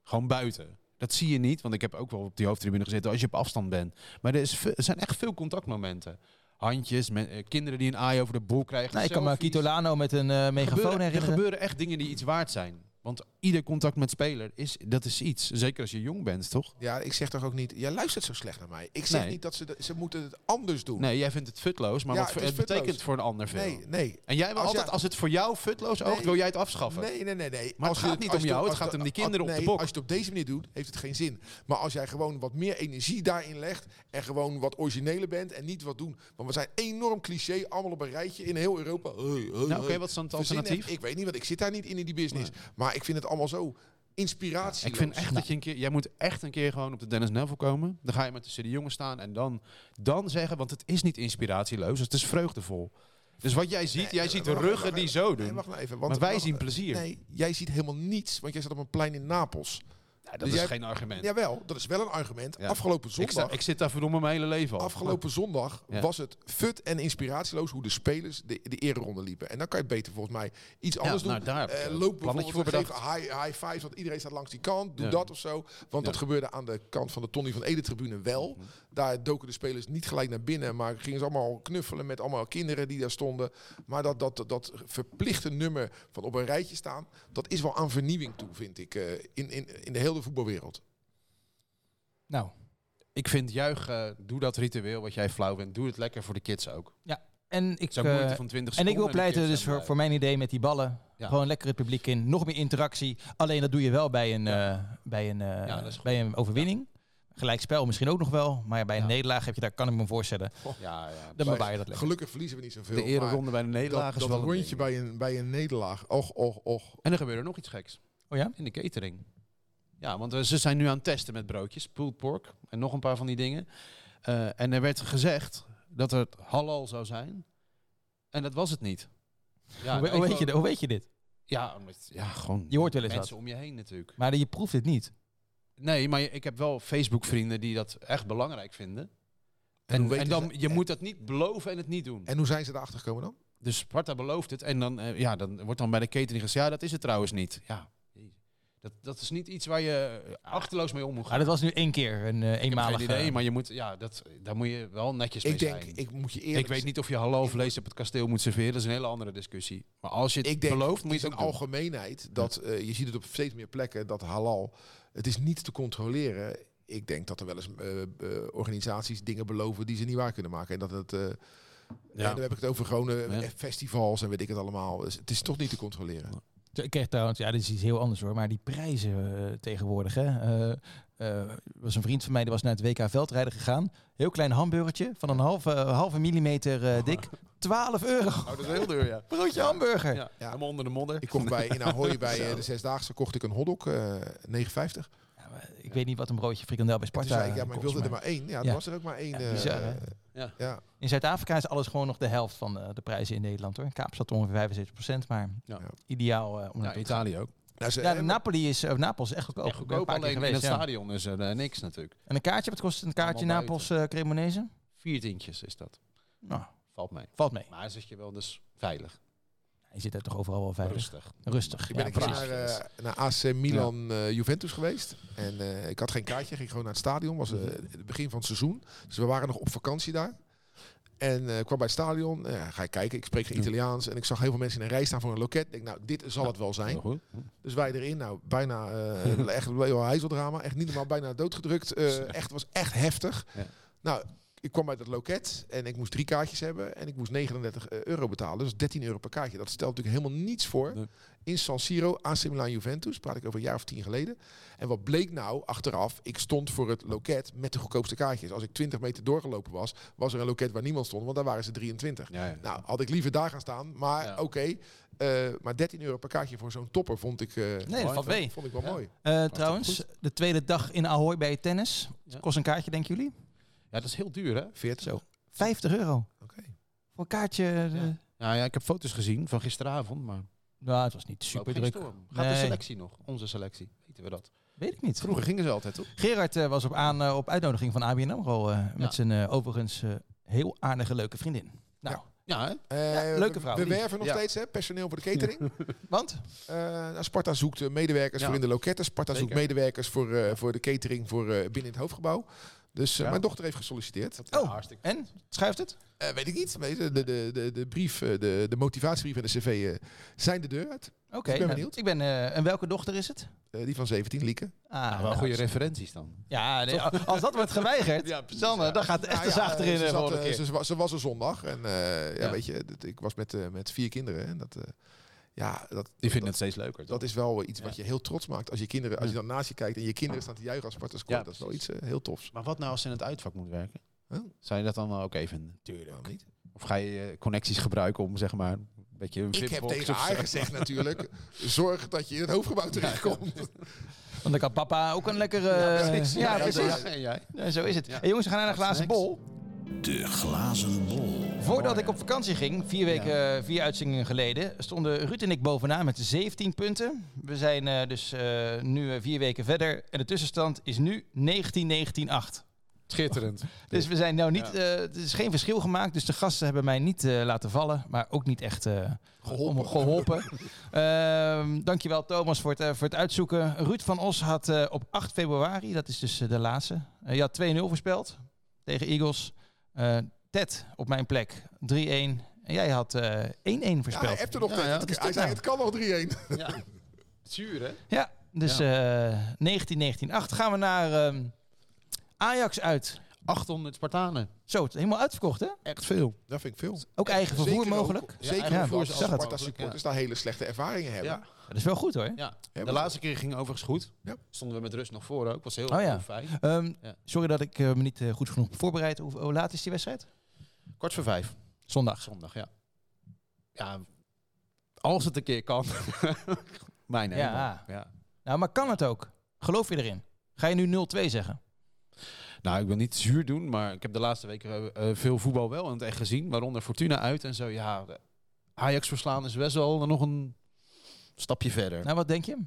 Speaker 3: Gewoon buiten. Dat zie je niet, want ik heb ook wel op die hoofdtribune gezeten als je op afstand bent. Maar er, is ve- er zijn echt veel contactmomenten. Handjes, men- eh, kinderen die een aai over de bol krijgen.
Speaker 2: Nou, ik kan me
Speaker 3: selfies.
Speaker 2: Kito Lano met een eh, megafoon
Speaker 3: Gebeuren- Er
Speaker 2: herinneren.
Speaker 3: gebeuren echt dingen die iets waard zijn. Want ieder contact met speler is, dat is iets. Zeker als je jong bent, toch?
Speaker 4: Ja, ik zeg toch ook niet, jij luistert zo slecht naar mij. Ik zeg
Speaker 3: Nee.
Speaker 4: niet dat ze, dat- ze moeten het anders doen.
Speaker 3: Nee, jij vindt het futloos, maar
Speaker 4: Ja,
Speaker 3: wat
Speaker 4: het
Speaker 3: voor,
Speaker 4: is
Speaker 3: het betekent
Speaker 4: futloos.
Speaker 3: voor een ander veel.
Speaker 4: nee, nee.
Speaker 3: En jij wil
Speaker 4: Als
Speaker 3: altijd,
Speaker 4: jij-
Speaker 3: als het voor jou futloos oogt,
Speaker 4: Nee.
Speaker 3: wil jij het afschaffen.
Speaker 4: Nee, nee, nee, nee.
Speaker 3: Maar het
Speaker 4: je
Speaker 3: gaat niet
Speaker 4: als
Speaker 3: om
Speaker 4: je-
Speaker 3: jou,
Speaker 4: als
Speaker 3: het gaat
Speaker 4: je-
Speaker 3: om die
Speaker 4: als-
Speaker 3: kinderen op de
Speaker 4: nee,
Speaker 3: bok.
Speaker 4: Als je het op deze manier doet, heeft het geen zin. Maar als jij gewoon wat meer energie daarin legt en gewoon wat origineler bent en niet wat doen. Want we zijn enorm cliché, allemaal op een rijtje in heel Europa. Hey, hey,
Speaker 3: Nou, oké,
Speaker 4: hey.
Speaker 3: wat is dan het
Speaker 4: Verzin
Speaker 3: alternatief?
Speaker 4: echt- Ik weet niet, want ik zit daar niet in in die business. Maar ik vind het allemaal zo inspiratie.
Speaker 3: Ik vind echt dat je een keer, jij moet echt een keer gewoon op de Dennis Neville komen. Dan ga je met tussen de jongens staan en dan, dan zeggen, want het is niet inspiratieloos, het is vreugdevol. Dus wat jij ziet, jij ziet ruggen die zo doen.
Speaker 4: eh, wacht nou even, want
Speaker 3: Maar wij
Speaker 4: wacht-
Speaker 3: zien plezier.
Speaker 4: Nee, jij ziet helemaal niets, want jij zat op een plein in Napels.
Speaker 3: Nou, dat
Speaker 4: dus
Speaker 3: is
Speaker 4: jij-
Speaker 3: geen argument.
Speaker 4: Jawel, dat is wel een argument.
Speaker 3: Ja.
Speaker 4: Afgelopen
Speaker 3: ik,
Speaker 4: zondag...
Speaker 3: sta, ik zit daar verdomme mijn hele leven al.
Speaker 4: Afgelopen zondag
Speaker 3: Ja.
Speaker 4: was het fut en inspiratieloos hoe de spelers de, de ereronde liepen. En dan kan je beter volgens mij iets anders doen.
Speaker 3: nou, daar heb ik
Speaker 4: Eh,
Speaker 3: een
Speaker 4: loop
Speaker 3: plannetje
Speaker 4: bijvoorbeeld
Speaker 3: voor
Speaker 4: en geef high, high fives, want iedereen staat langs die kant. Doe
Speaker 3: Ja.
Speaker 4: dat of zo. Want
Speaker 3: Ja. Mhm.
Speaker 4: dat gebeurde aan de kant van de Tony van Ede tribune wel. Daar doken de spelers niet gelijk naar binnen, maar gingen ze allemaal knuffelen met allemaal kinderen die daar stonden. Maar dat, dat, dat, dat verplichte nummer van op een rijtje staan, dat is wel aan vernieuwing toe, vind ik, eh, in, in, in de hele voetbalwereld.
Speaker 2: Nou,
Speaker 3: Ik vind juich, eh, doe dat ritueel wat jij flauw bent. Doe het lekker voor de kids ook.
Speaker 2: en ik,
Speaker 3: Zo'n
Speaker 2: eh,
Speaker 3: moeite van 20
Speaker 2: en ik
Speaker 3: seconden.
Speaker 2: wil pleiten
Speaker 3: de kids
Speaker 2: dus
Speaker 3: zijn
Speaker 2: voor, voor mijn idee met die ballen.
Speaker 3: Ja.
Speaker 2: Gewoon lekker het publiek in. Nog meer interactie. Alleen dat doe je wel bij een, eh, bij een, eh,
Speaker 3: Ja, dat is goed.
Speaker 2: bij een overwinning. Gelijkspel misschien ook nog wel. Maar ja, bij een
Speaker 3: Ja.
Speaker 2: nederlaag heb je daar, kan ik me voorstellen.
Speaker 3: blij. Ja, ja.
Speaker 2: Dan bewaar je dat lekker.
Speaker 4: Gelukkig verliezen we niet zoveel.
Speaker 3: De
Speaker 4: maar-
Speaker 3: ereronde bij de
Speaker 4: dat,
Speaker 3: nederlaag is
Speaker 4: dat
Speaker 3: wel een
Speaker 4: rondje
Speaker 3: ding.
Speaker 4: bij een, bij een nederlaag. Och, och, och.
Speaker 3: En er gebeurde nog iets geks.
Speaker 2: Oh ja?
Speaker 3: In de catering. Ja, want eh, ze zijn nu aan het testen met broodjes, pulled pork en nog een paar van die dingen. Eh, en er werd gezegd dat het halal zou zijn. En dat was het niet. Ja,
Speaker 2: hoe,
Speaker 3: nou,
Speaker 2: hoe
Speaker 3: ik
Speaker 2: weet je,
Speaker 3: wou-
Speaker 2: dit- hoe weet je dit?
Speaker 3: Ja, omdat- ja, gewoon
Speaker 2: Je hoort wel eens
Speaker 3: mensen om je heen natuurlijk.
Speaker 2: Maar je proeft het niet.
Speaker 3: Nee, maar ik heb wel Facebook vrienden die dat echt belangrijk vinden.
Speaker 4: hoe
Speaker 3: En,
Speaker 4: weten
Speaker 3: en dan,
Speaker 4: ze-
Speaker 3: je
Speaker 4: en-
Speaker 3: moet dat niet beloven en het niet doen.
Speaker 4: En hoe zijn ze erachter gekomen dan?
Speaker 3: Dus Sparta belooft het. En dan, eh, ja, dan wordt dan bij de catering gezegd, ja, dat is het trouwens niet. Ja, dat, dat is niet iets waar je eh, achterloos mee om moet gaan.
Speaker 2: Maar dat was nu één keer een eh
Speaker 3: Ik heb
Speaker 2: eenmalige...
Speaker 3: geen idee, maar je moet, ja, dat, daar moet je wel netjes mee
Speaker 4: Ik denk,
Speaker 3: zijn.
Speaker 4: ik moet je
Speaker 3: Ik,
Speaker 4: eerlijk
Speaker 3: weet niet of je halal vlees op het kasteel moet serveren. Dat is een hele andere discussie. Maar als je het
Speaker 4: Ik denk,
Speaker 3: belooft, moet
Speaker 4: het
Speaker 3: je
Speaker 4: is
Speaker 3: het
Speaker 4: een
Speaker 3: ook doen.
Speaker 4: algemeenheid dat eh, je ziet het op steeds meer plekken dat halal. Het is niet te controleren. Ik denk dat er wel eens eh, eh, organisaties dingen beloven die ze niet waar kunnen maken. En dat het. eh, en
Speaker 3: Ja.
Speaker 4: dan heb ik het over gewoon eh,
Speaker 3: Ja.
Speaker 4: festivals en weet ik het allemaal. Dus het is toch niet te controleren.
Speaker 2: Ik kreeg trouwens, ja, dit is iets heel anders hoor, maar die prijzen eh, tegenwoordig. Hè. Eh, eh, er was een vriend van mij die was naar het WK veldrijden gegaan. Heel klein hamburgertje van een halve, halve millimeter eh, dik. 12 euro.
Speaker 3: Oh, dat is heel duur, ja.
Speaker 2: Broodje hamburger. Ja.
Speaker 3: ja. Helemaal onder de modder.
Speaker 4: Ik kocht bij in Ahoy bij eh, de zesdaagse kocht ik een hotdog eh 9,50.
Speaker 2: maar ik weet niet wat een broodje frikandel bij
Speaker 4: Toen
Speaker 2: Sparta
Speaker 4: zei ik, ja, maar ik
Speaker 2: kost,
Speaker 4: wilde er
Speaker 2: maar
Speaker 4: maar één. Ja, er
Speaker 2: Ja.
Speaker 4: was er ook maar één. eh,
Speaker 2: bizar, hè?
Speaker 3: Ja.
Speaker 4: ja.
Speaker 2: In Zuid-Afrika is alles gewoon nog de helft van eh, de prijzen in Nederland hoor. Kaapstad ongeveer 75%, maar
Speaker 3: Ja.
Speaker 2: ideaal eh, om
Speaker 3: Ja,
Speaker 2: naartoe te
Speaker 3: Italië ook.
Speaker 4: Nou, ze-
Speaker 2: gaan. Ja,
Speaker 4: hè,
Speaker 2: Napoli is, eh, Napels is echt goedkoop.
Speaker 3: Ja,
Speaker 2: Ik ben een
Speaker 3: goedkoop
Speaker 2: paar keer
Speaker 3: alleen in
Speaker 2: geweest,
Speaker 3: het
Speaker 2: ja.
Speaker 3: stadion is er eh, niks natuurlijk.
Speaker 2: En een kaartje, wat kost een kaartje
Speaker 3: Allemaal buiten.
Speaker 2: Napels-Cremonese?
Speaker 3: Vier tientjes is dat.
Speaker 2: nou,
Speaker 3: Valt mee.
Speaker 2: valt mee.
Speaker 3: Maar zit je wel dus veilig.
Speaker 2: Je zit daar toch overal wel veilig.
Speaker 3: Rustig.
Speaker 2: Rustig.
Speaker 4: Ik ben een keer naar, eh, naar AC Milan eh, Juventus geweest. En eh, ik had geen kaartje, ging gewoon naar het stadion. was eh, het begin van het seizoen. Dus we waren nog op vakantie daar. En eh, ik kwam bij het stadion, eh, ga ik kijken, ik spreek geen Italiaans. En ik zag heel veel mensen in een rij staan voor een loket. Ik denk, nou, dit zal het wel zijn.
Speaker 3: Heel goed.
Speaker 4: Dus wij erin, nou, bijna eh echt een heel heizeldrama. Echt niet normaal, bijna doodgedrukt. Eh echt, was echt heftig.
Speaker 3: Dus- Ja.
Speaker 4: Nou, ik kwam uit het loket en ik moest drie kaartjes hebben. En ik moest 39 euro betalen. Dus 13 euro per kaartje. Dat stelt natuurlijk helemaal niets voor.
Speaker 3: Nee.
Speaker 4: In San Siro, AC Milan Juventus, praat ik over een jaar of tien geleden. En wat bleek nou achteraf? Ik stond voor het loket met de goedkoopste kaartjes. Als ik 20 meter doorgelopen was, was er een loket waar niemand stond. Want daar waren ze 23.
Speaker 3: Ja, ja.
Speaker 4: Nou, had ik liever daar gaan staan. Maar
Speaker 3: Ja.
Speaker 4: oké, eh, maar 13 euro per kaartje voor zo'n topper vond ik... eh,
Speaker 2: Nee, dat valt mee.
Speaker 4: Vond ik wel
Speaker 3: Ja.
Speaker 4: mooi.
Speaker 2: Eh, trouwens, de tweede dag in Ahoy bij het tennis.
Speaker 3: Ja.
Speaker 2: Kost een kaartje, denken jullie?
Speaker 3: Ja, dat is heel duur, hè?
Speaker 4: 40.
Speaker 2: Zo. 50 euro.
Speaker 4: Oké.
Speaker 2: Voor een kaartje. eh,
Speaker 3: Nou ja, ik heb foto's gezien van gisteravond, maar
Speaker 2: Nou, het was niet super druk.
Speaker 3: Gaat de
Speaker 2: Nee.
Speaker 3: selectie nog? Onze selectie. Weten we dat?
Speaker 2: Weet ik niet.
Speaker 3: Vroeger gingen ze altijd, toch?
Speaker 2: Gerard eh, was op, aan, eh, op uitnodiging van ABN AMRO. eh,
Speaker 3: Ja.
Speaker 2: Met zijn eh, overigens eh, heel aardige, leuke vriendin. Nou,
Speaker 3: Ja, hè?
Speaker 4: Eh,
Speaker 2: leuke
Speaker 4: we-
Speaker 2: vrouw,
Speaker 4: We
Speaker 2: lief.
Speaker 4: werven nog
Speaker 3: Ja.
Speaker 4: steeds hè, personeel voor de catering.
Speaker 2: want?
Speaker 4: Eh, nou, Sparta zoekt eh, medewerkers
Speaker 3: Ja.
Speaker 4: voor in de loketten. Sparta
Speaker 3: Zeker.
Speaker 4: zoekt medewerkers voor, eh, voor de catering voor eh, binnen het hoofdgebouw. Dus eh, mijn dochter heeft gesolliciteerd.
Speaker 2: Oh, en? Schuift het?
Speaker 4: Eh, weet ik niet. Weet je, De, de, de, de brief, eh, de, de motivatiebrief en de cv eh, zijn de deur uit.
Speaker 2: Oké.
Speaker 4: Ik ben
Speaker 2: nou,
Speaker 4: benieuwd.
Speaker 2: ik ben, eh, en welke dochter is het?
Speaker 4: Eh, die van 17, Lieke.
Speaker 2: Ah,
Speaker 3: wel
Speaker 2: nou,
Speaker 3: goede
Speaker 2: ze-
Speaker 3: referenties dan.
Speaker 2: Ja, nee, als dat wordt geweigerd,
Speaker 3: Ja, precies,
Speaker 2: dan, eh,
Speaker 3: ja.
Speaker 2: dan gaat het echt
Speaker 4: Nou
Speaker 2: eens
Speaker 4: ja,
Speaker 2: achterin
Speaker 4: ze,
Speaker 2: de
Speaker 4: zat,
Speaker 2: volgende
Speaker 4: eh,
Speaker 2: keer.
Speaker 4: ze, wa- ze was er zondag. En eh, ja,
Speaker 3: Ja.
Speaker 4: weet je, dat- ik was met, eh, met vier kinderen. En dat, eh, ja, dat,
Speaker 3: Die
Speaker 4: dat,
Speaker 3: vinden het steeds leuker.
Speaker 4: dat is wel iets wat je heel trots maakt. Als je kinderen, als je dan naast je kijkt en je kinderen staan te juichen als Sparta scoort.
Speaker 3: Ja,
Speaker 4: dat is wel iets eh, heel tofs.
Speaker 3: Maar wat nou als ze in het uitvak moet werken?
Speaker 4: Huh?
Speaker 3: Zou je dat dan wel oké vinden?
Speaker 4: Waarom niet?
Speaker 3: Of ga je eh, connecties gebruiken om zeg maar een beetje een
Speaker 4: Ik heb
Speaker 3: VIP-box
Speaker 4: tegen
Speaker 3: of zo?
Speaker 4: haar gezegd natuurlijk, zorg dat je in het hoofdgebouw terechtkomt.
Speaker 2: Want dan kan papa ook een lekkere... eh, ja, precies.
Speaker 3: Ja, en jij?
Speaker 2: Ja, zo is het. Hey, jongens, we gaan naar de glazen
Speaker 3: snacks.
Speaker 2: bol.
Speaker 1: De glazen bol.
Speaker 2: Voordat ik op vakantie ging, vier weken, eh, vier uitzendingen geleden, stonden Ruud en ik bovenaan met 17 punten. We zijn eh, dus eh, nu eh, vier weken verder en de tussenstand is nu 19-19-8.
Speaker 3: Schitterend.
Speaker 2: Dus we zijn nou niet, eh, er is geen verschil gemaakt. Dus de gasten hebben mij niet eh, laten vallen, maar ook niet echt eh,
Speaker 4: Geholpen.
Speaker 2: om- geholpen. Ehm, dankjewel Thomas voor het, eh, voor het uitzoeken. Ruud van Os had eh, op 8 februari, dat is dus eh, de laatste, eh, je had 2-0 voorspeld tegen Eagles. Eh, Ted op mijn plek 3-1. En jij had eh, 1-1
Speaker 4: Ja, hij
Speaker 2: voorspeld. Ja,
Speaker 4: heeft er nog
Speaker 3: Ja,
Speaker 4: tegen.
Speaker 3: ja.
Speaker 4: Hij
Speaker 2: Wat is
Speaker 4: zei,
Speaker 2: dit nou?
Speaker 4: het kan nog 3-1.
Speaker 3: Ja. Zuur, hè?
Speaker 2: dus eh 19-19-8 gaan we naar ehm, Ajax uit.
Speaker 3: 800 Spartanen.
Speaker 2: Zo, het is helemaal uitverkocht hè?
Speaker 3: Echt veel.
Speaker 4: Dat vind ik veel.
Speaker 2: Ook eigen
Speaker 4: Zeker
Speaker 2: vervoer
Speaker 4: ook-
Speaker 2: mogelijk.
Speaker 4: zeker
Speaker 2: ja,
Speaker 4: ook
Speaker 2: ik
Speaker 4: als
Speaker 2: zag het.
Speaker 4: Sparta supporters daar hele slechte ervaringen hebben.
Speaker 3: Ja.
Speaker 2: Dat is wel goed hoor.
Speaker 3: ja.
Speaker 4: Hebben
Speaker 3: De
Speaker 4: ze.
Speaker 3: laatste keer ging overigens goed.
Speaker 4: Ja.
Speaker 3: Stonden we met rust nog voor ook. Was heel,
Speaker 2: Oh ja.
Speaker 3: heel fijn.
Speaker 2: Ehm,
Speaker 3: Ja.
Speaker 2: Sorry dat ik eh, me niet eh, goed genoeg heb voorbereid. Hoe, hoe laat is die wedstrijd?
Speaker 3: Kwart voor vijf.
Speaker 2: Zondag.
Speaker 3: Zondag, ja. Ja, als het een keer kan. Mijn
Speaker 2: Ja.
Speaker 3: hemel. ja.
Speaker 2: Nou, maar kan het ook? Geloof je erin? Ga je nu 0-2 zeggen?
Speaker 3: Nou, ik wil niet zuur doen, maar ik heb de laatste weken eh, eh, veel voetbal wel in het echt gezien. Waaronder Fortuna uit en zo. Ja, de Ajax verslaan is best wel nog een stapje verder.
Speaker 2: Nou, wat denk je?